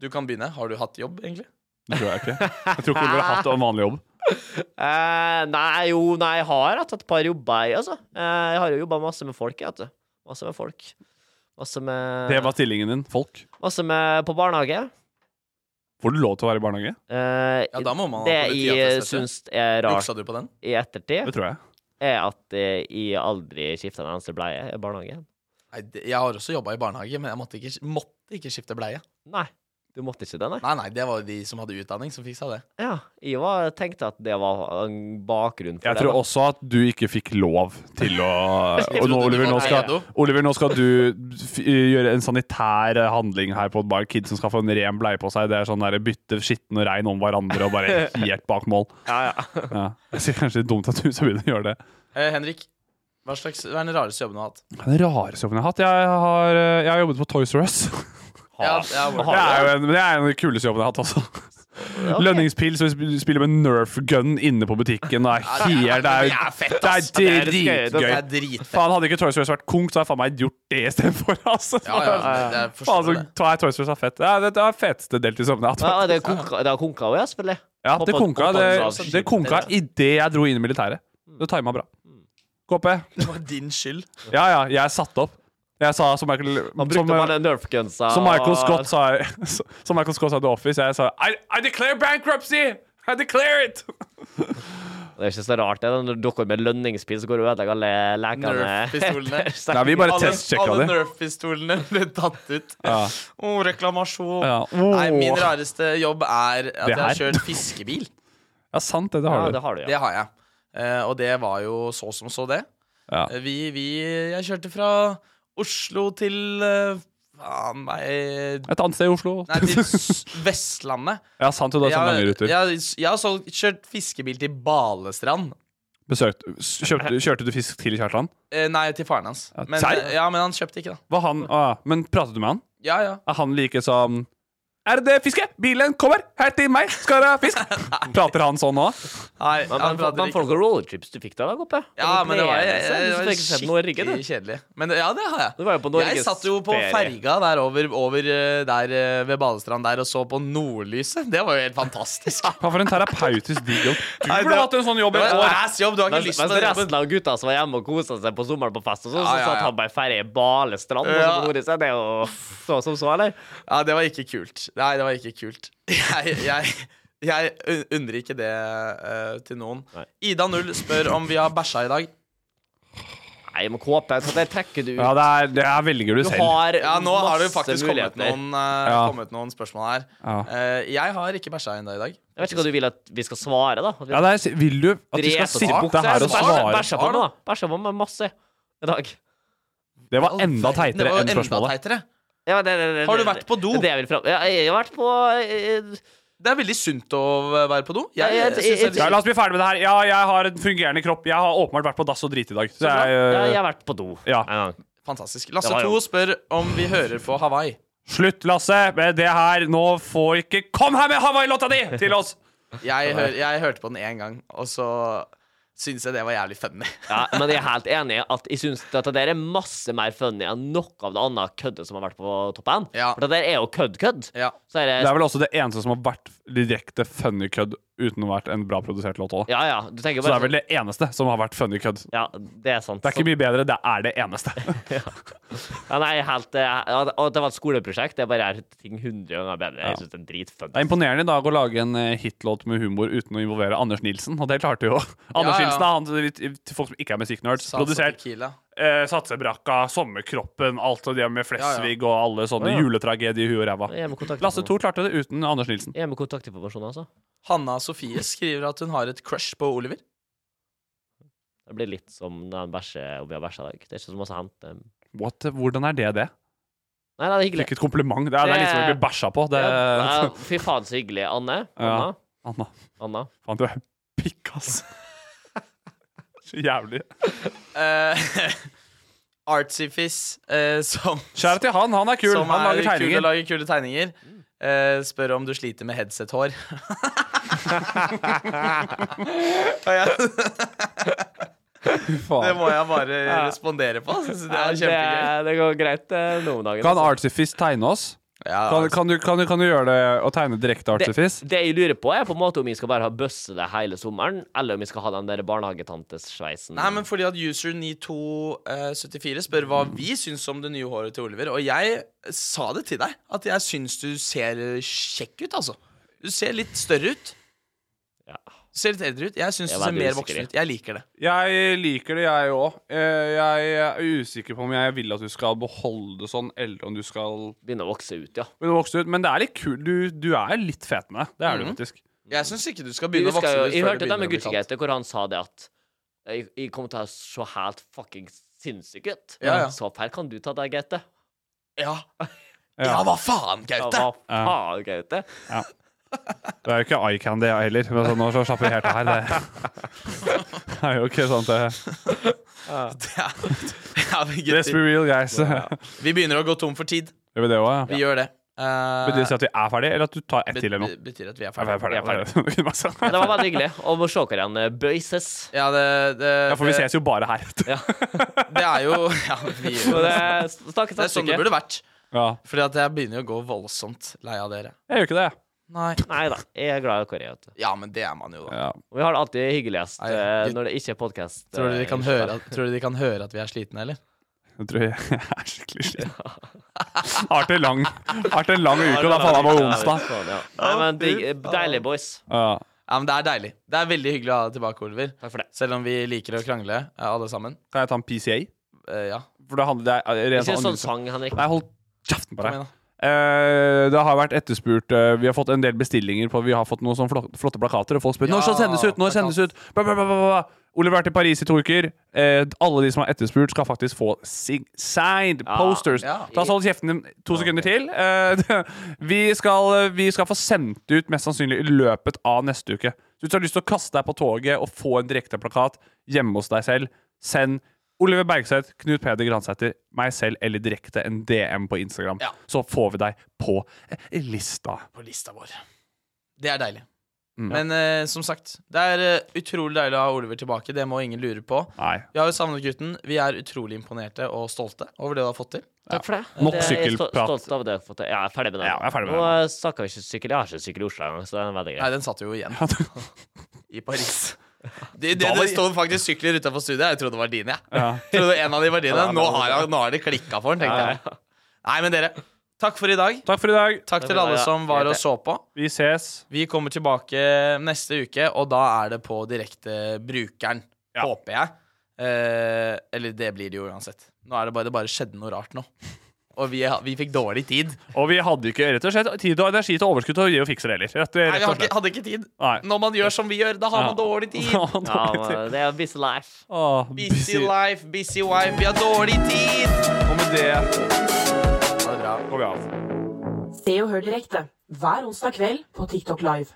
du kan begynne. Har du hatt jobb, egentlig?
Det tror jeg ikke. Jeg tror ikke Oliver har hatt en vanlig jobb.
Eh, nei, jo, nei, jeg har hatt et par jobber, jeg, altså. Eh, jeg har jo jobba masse med folk, jeg, vet du. Masse med folk. Masse med,
Det var stillingen din. Folk.
masse med på barnehage.
Får du lov til å være i barnehage?
Eh,
Ja, da må man ha
det jeg
politiattest, vet du.
syns er rart
Juksa du på den?
i ettertid,
Det tror jeg.
er at eh, jeg aldri skifta en eneste bleie i barnehagen.
Nei, det- jeg har også jobba i barnehage, men jeg måtte ikke, måtte ikke skifte bleie.
Nei, du måtte ikke det, nei.
Nei, nei, det var jo de som hadde utdanning, som fiksa det.
Ja, jeg var, tenkte at det var en bakgrunn for
Jeg
det.
tror
da.
også at du ikke fikk lov til å
Jeg
Og nå,
trodde du
Oliver, nå
var
skal,
pedo.
Oliver, nå skal du f gjøre en sanitær eh, handling her på et bar. Kid som skal få en ren bleie på seg. Det er sånn der, bytte skitten og rein om hverandre og bare helt bak mål.
Ja, ja.
Ja. Jeg sier kanskje det er dumt at du skal begynne å gjøre det.
Eh, Henrik, Hva, slags, hva er den rareste jobben du har hatt?
Den rareste jobben jeg har hatt Jeg har, eh, jeg har jobbet på Toys R Us.
Ja, ja, hvor-
Det er jo en, det er en av de kuleste jobben jeg har hatt, altså. Lønningspils og vi spiller med Nerf gun inne på butikken. Det er helt Det er,
fett,
det
ass.
er
Det er
Det er
dritgøy.
dritfett.
Faen, hadde ikke Toys R Us vært konk, så hadde jeg faen meg gjort det istedenfor. Altså.
Ja, ja, det- det- jeg
Faen,
forstår
så
det.
tar jeg Toys R Us er fett. Ja, det det er feteste deltidsjobben jeg har
Ja,
hatt.
det er konka- det har konka òg, ja, selvfølgelig.
Ja, det
Hoppa-
konka,
hoppa
det,
av skipet.
det konka idet jeg dro inn i militæret. Det tima bra. KP.
Det var din skyld.
Ja, ja, jeg satte opp. Jeg sa som Michael
Man brukte
som,
bare Nerf gunsa.
som Michael
og-
Scott sa Som Michael Scott sa i The Office, jeg sa I, I declare bankruptcy! I declare it!
Det er ikke så rart, det. er Når dere med lønningspil som går og ødelegger alle lekene.
Nerf-pistolene.
Nei, vi bare
Alle,
testsjekka
alle
det.
Nerf-pistolene ble tatt ut. Å, reklamasjon.
Ja.
Nei, min
Åh.
rareste jobb er at jeg har
her.
kjørt fiskebil.
Ja, sant det. Det
Ja,
har du.
det har du,
Det
ja.
har jeg. Eh, og det var jo så som så, det.
Ja.
Eh, Vi, vi Jeg kjørte fra Oslo til eh, Faen meg
Et annet sted i Oslo.
Nei, til S- Vestlandet.
Ja, sant det. Du har sånne lange
Jeg,
ruter.
jeg, jeg har så kjørt fiskebil til Balestrand.
Besøkt. Kjørte, kjørte du fisk til Kjartan?
Eh, nei, til faren hans.
Ja,
Men, eh,
serr?
ja, men han kjøpte ikke, da.
Var han, ah, men pratet du med han?
Ja, ja.
Er han like som Er det fiske? Bilen kommer! Her til meg! Skal dere ha fisk? Prater han sånn nå?
Nei,
Men,
han
men,
prater
men
ikke.
folk og roadtrips du fikk da, da, Goppe?
Ja, men det var,
jeg,
jeg, jeg,
du
var
fikk ikke sett Norge, du.
skikkelig kjedelig. Men ja, det har jeg.
Du var jo på Norges
jeg satt jo på
ferie.
ferga der over, over eh, der eh, ved Balestrand der og så på nordlyset. Det var jo helt fantastisk.
Hva for en terapeutisk digg jobb. Du
Nei,
burde hatt en sånn jobb
Det
i
var en
år.
ass jobb, du har
Mens,
ikke lyst
mens
på den
resten
jobben.
av gutta som var hjemme og kosa seg på sommeren på fest, og
Ja,
sånn, så
ja,
satt
ja.
han bare i ferie i Balestrand. og
Ja.
så på bordet sitt. Det er jo så som så, eller?
Ja, det var ikke kult. Nei, det var ikke kult. Jeg, jeg, jeg un- undrer ikke det eh, til noen.
Nei.
Ida Null spør om vi har bæsja i dag.
Nei, men KP, så der trekker du ut.
Ja, det er, det er velger du,
du
selv.
har
Ja, nå har det jo
masse
faktisk kommet
muligheter.
noen, eh,
Ja.
kommet noen spørsmål her.
Ja.
Eh, jeg har ikke bæsja ennå i dag.
Jeg vet ikke hva du vil at vi skal svare, da. At vi
Ja, det er, vil du at vi skal
drepe oss i
sitte
buksa?
her og
Så bæsja-
svare?
Bæsja på meg, da. Bæsja på meg masse i dag.
Det var enda
Det
teitere
var jo
enn
enda
spørsmålet.
teitere.
Ja, men det, det, det,
Har du
det-
vært på do?
Det jeg vil fram... Ja, jeg har vært på eh,
Det er veldig sunt å være på do. Jeg,
Jeg- jeg-
synes det er
jeg-
litt-
Ja, la oss bli ferdig med det her. Ja, jeg har en fungerende kropp. Jeg har åpenbart vært på dass og drit i dag. Så
ja,
jeg, eh,
jeg har vært på do.
ja.
En gang.
Fantastisk. Lasse
Det var
2
jo-
spør om vi hører på Hawaii.
Slutt, Lasse, med det her. Nå får ikke Kom her med Hawaii-låta di til oss!
Jeg, hør, jeg hørte på den én gang, og så syns jeg det var jævlig funny.
Ja, men jeg er helt enig i at jeg syns dette der er masse mer funny enn noe av det andre køddet som har vært på Topp N.
Ja.
For det der er jo kødd-kødd.
Ja.
Så er det,
Det er vel også det eneste som har vært direkte funny kødd uten å ha vært en bra produsert låt. Også.
Ja, ja. Du tenker
Så det
bare
er vel det eneste som har vært funny kødd.
Ja, det er sant.
Det er ikke mye bedre, det er det eneste.
ja, nei, helt, eh, ja, og det var et skoleprosjekt. Det er bare er ting 100 ganger bedre. Jeg syns det er
Det
dritfunny.
er imponerende i dag å lage en eh, hitlåt med humor uten å involvere Anders Nilsen, og det klarte jo Anders
ja.
Nilsen er han til- til folk som ikke er musikknerds.
Salsa
Produsert
tequila.
eh, Satsebrakka, Sommerkroppen, alt det der med Flesvig og alle sånne
Ja, ja.
juletragedier i huet og ræva.
Jeg er med kontakt-
Lasse 2 klarte det uten Anders Nilsen.
Jeg er med kontaktinformasjon, altså.
Hanna Sofie skriver at hun har et crush på Oliver.
Det blir litt som når han bæsjer om vi har bæsja i dag. Det er ikke så masse å hente. Nei,
What? Hvordan er det det?
nei, det er hyggelig.
Fikk et kompliment. Det er, det er liksom å bli bæsja på. Det,
Ja, ja, fy faen, så hyggelig. Anne? Anna?
Ja. Anna,
Anna?
faen, du er pikk, ass. Så jævlig.
Uh, Artsyfis, eh, som,
Kjære til han, han er kul.
som
han
er
lager
kul og
tegninger.
lager kule tegninger, eh, spør om du sliter med headset-hår. Og jeg- det
Faen.
må jeg bare respondere på. Jeg synes det er
det,
kjempegøy.
det går greit eh, nå om dagen.
Kan
altså.
Artifice tegne oss?
Ja, altså.
Kan, kan, du, kan, du, kan du gjøre det og tegne direkte Artifice?
Det jeg lurer på, er på en måte om vi skal bare ha bøsse det hele sommeren, eller om vi skal ha den der barnehagetantesveisen.
Nei, men fordi at user 9274 spør hva vi syns om det nye håret til Oliver. Og jeg sa det til deg, at jeg syns du ser kjekk ut, altså. Du ser litt større ut.
Ja.
Du ser litt eldre ut. Jeg syns
Jeg
du
var
ser mer
usikker, ja.
voksen ut. Jeg liker det.
Jeg liker det, jeg òg. Jeg er usikker på om jeg vil at du skal beholde det sånn, eller om du skal
Begynner å vokse ut, ja.
Men, du vokser ut. Men det er litt kult. Du, du er litt fet med det. Det er du faktisk.
Jeg syns ikke du skal
Jeg,
begynne å
husker,
vokse
jo-
ut.
jeg
før
hørte
du
det med
begynner å bli
Gucci
kalt.
Gate, hvor han sa det at jeg, jeg kommer til å se helt fucking sinnssyk ut.
Ja, ja.
Så feil kan du ta deg, Gaute.
Ja. ja, hva faen,
Ja,
Gaute?
hva faen, Gaute?
Det er jo ikke eye candy altså, jeg heller. Men sånn, nå så slapper vi helt av her. Det Det er jo ikke sant, det.
Det er, ja, vi,
Let's be
gutter,
real, guys.
vi begynner å gå tom for tid.
Gjør vi det òg,
Vi
ja?
gjør det. Eh,
Betyr det at vi er ferdige, eller at du tar ett
bet-
til eller noe?
bet- betyr at vi er
Ja, vi er
ferdige.
ferdige. Det kunne vært
Men det var
sånn.
veldig hyggelig å må se eh, hverandre bøyses.
Ja, det, det,
Ja, for vi ses jo bare her.
Ja.
det, det er jo ja, vi
Så
gjør det.
det snakkes
det er
neste
sånn det
uke.
burde vært.
Ja.
Fordi at jeg begynner jo å gå voldsomt lei av dere.
Jeg gjør ikke det. jeg.
Nei.
Nei da, jeg er glad i dere. vet du.
Ja, men det er man jo, da.
Ja.
Vi har det alltid hyggeligst
Nei,
eh,
gutt-
når det ikke er eh, podkast.
Tror dere de kan høre at, tror dere de kan høre at vi er slitne, eller?
Jeg tror jeg er skikkelig sliten. Har vært en lang, har vært en lang uke, og det er faen meg onsdag.
Nei, men digg- Deilig, boys.
Ja.
Ja, men Det er deilig. Det er veldig hyggelig å ha deg tilbake, Oliver.
Takk for det.
Selv om vi liker å krangle, eh, alle sammen.
Kan jeg ta en PCA?
Eh, ja.
For det handler det er, liksom-
Ikke
rent
en sånn sang, Henrik.
Nei, hold kjeften på
Kom
deg.
igjen, da.
Eh, det har vært etterspurt eh, Vi har fått en del bestillinger på Vi har fått noen sånne flott- flotte plakater, og folk spør
Ja,
når skal sendes ut. Når
plakat.
sendes ut bla, bla, bla, bla, bla. Oliver er til Paris i to uker. Eh, alle de som har etterspurt, skal faktisk få sig signed posters.
Ah, Ja.
Ta så Hold kjeften din to sekunder til. Eh, vi, skal, vi skal få sendt ut mest sannsynlig i løpet av neste uke. Så hvis du har lyst til å kaste deg på toget og få en direkteplakat hjemme hos deg selv, send Oliver Bergseth, Knut Peder Gransæter, meg selv eller direkte en DM på Instagram.
Ja.
Så får vi deg på eh, lista.
På lista vår. Det er deilig. Men eh, som sagt, det er eh, utrolig deilig å ha Oliver tilbake. Det må ingen lure på.
Nei.
Vi har jo savnet gutten. Vi er utrolig imponerte og stolte over det du har fått til.
Takk for det.
Nok
Det- jeg er
sykkelprat.
stol- Stolt av det. jeg har fått til. Ja, jeg er ferdig med det.
Ja, jeg er ferdig med
Nå
det.
eh, snakker vi ikke sykkel. Jeg har ikke sykkel i Oslo engang, så det er veldig
Nei,
greit.
den satt jo igjen
ja.
i Paris. Det, det,
Da
det
var de-
står faktisk sykler utafor studiet. Jeg trodde det var dine. jeg. Jeg Trodde en av de var dine. Nå har, jeg, nå har de klikka for den, tenkte jeg. Nei, men dere, takk for i dag.
Takk for i dag.
Takk til
for i
alle
dag, ja.
som var og så på.
Vi ses.
Vi kommer tilbake neste uke, og da er det på direkte brukeren,
Ja.
håper jeg. Eh, eller det blir det jo uansett. Nå er det bare, det bare skjedde noe rart nå. Og vi, vi fikk dårlig tid.
Og vi hadde ikke rett og slett tid og energi til overskudd til å gi og fikse det heller. Rett,
Nei,
rett
vi
og
har ikke,
slett.
hadde ikke tid.
Nei.
Når man gjør som vi gjør, da har man
Ja.
dårlig tid.
Ja, men det er busy life.
Åh,
Busy life, busy wife, vi har dårlig tid.
Og med det
Ha det bra.
går vi av.
Se og hør direkte hver onsdag kveld på TikTok Live.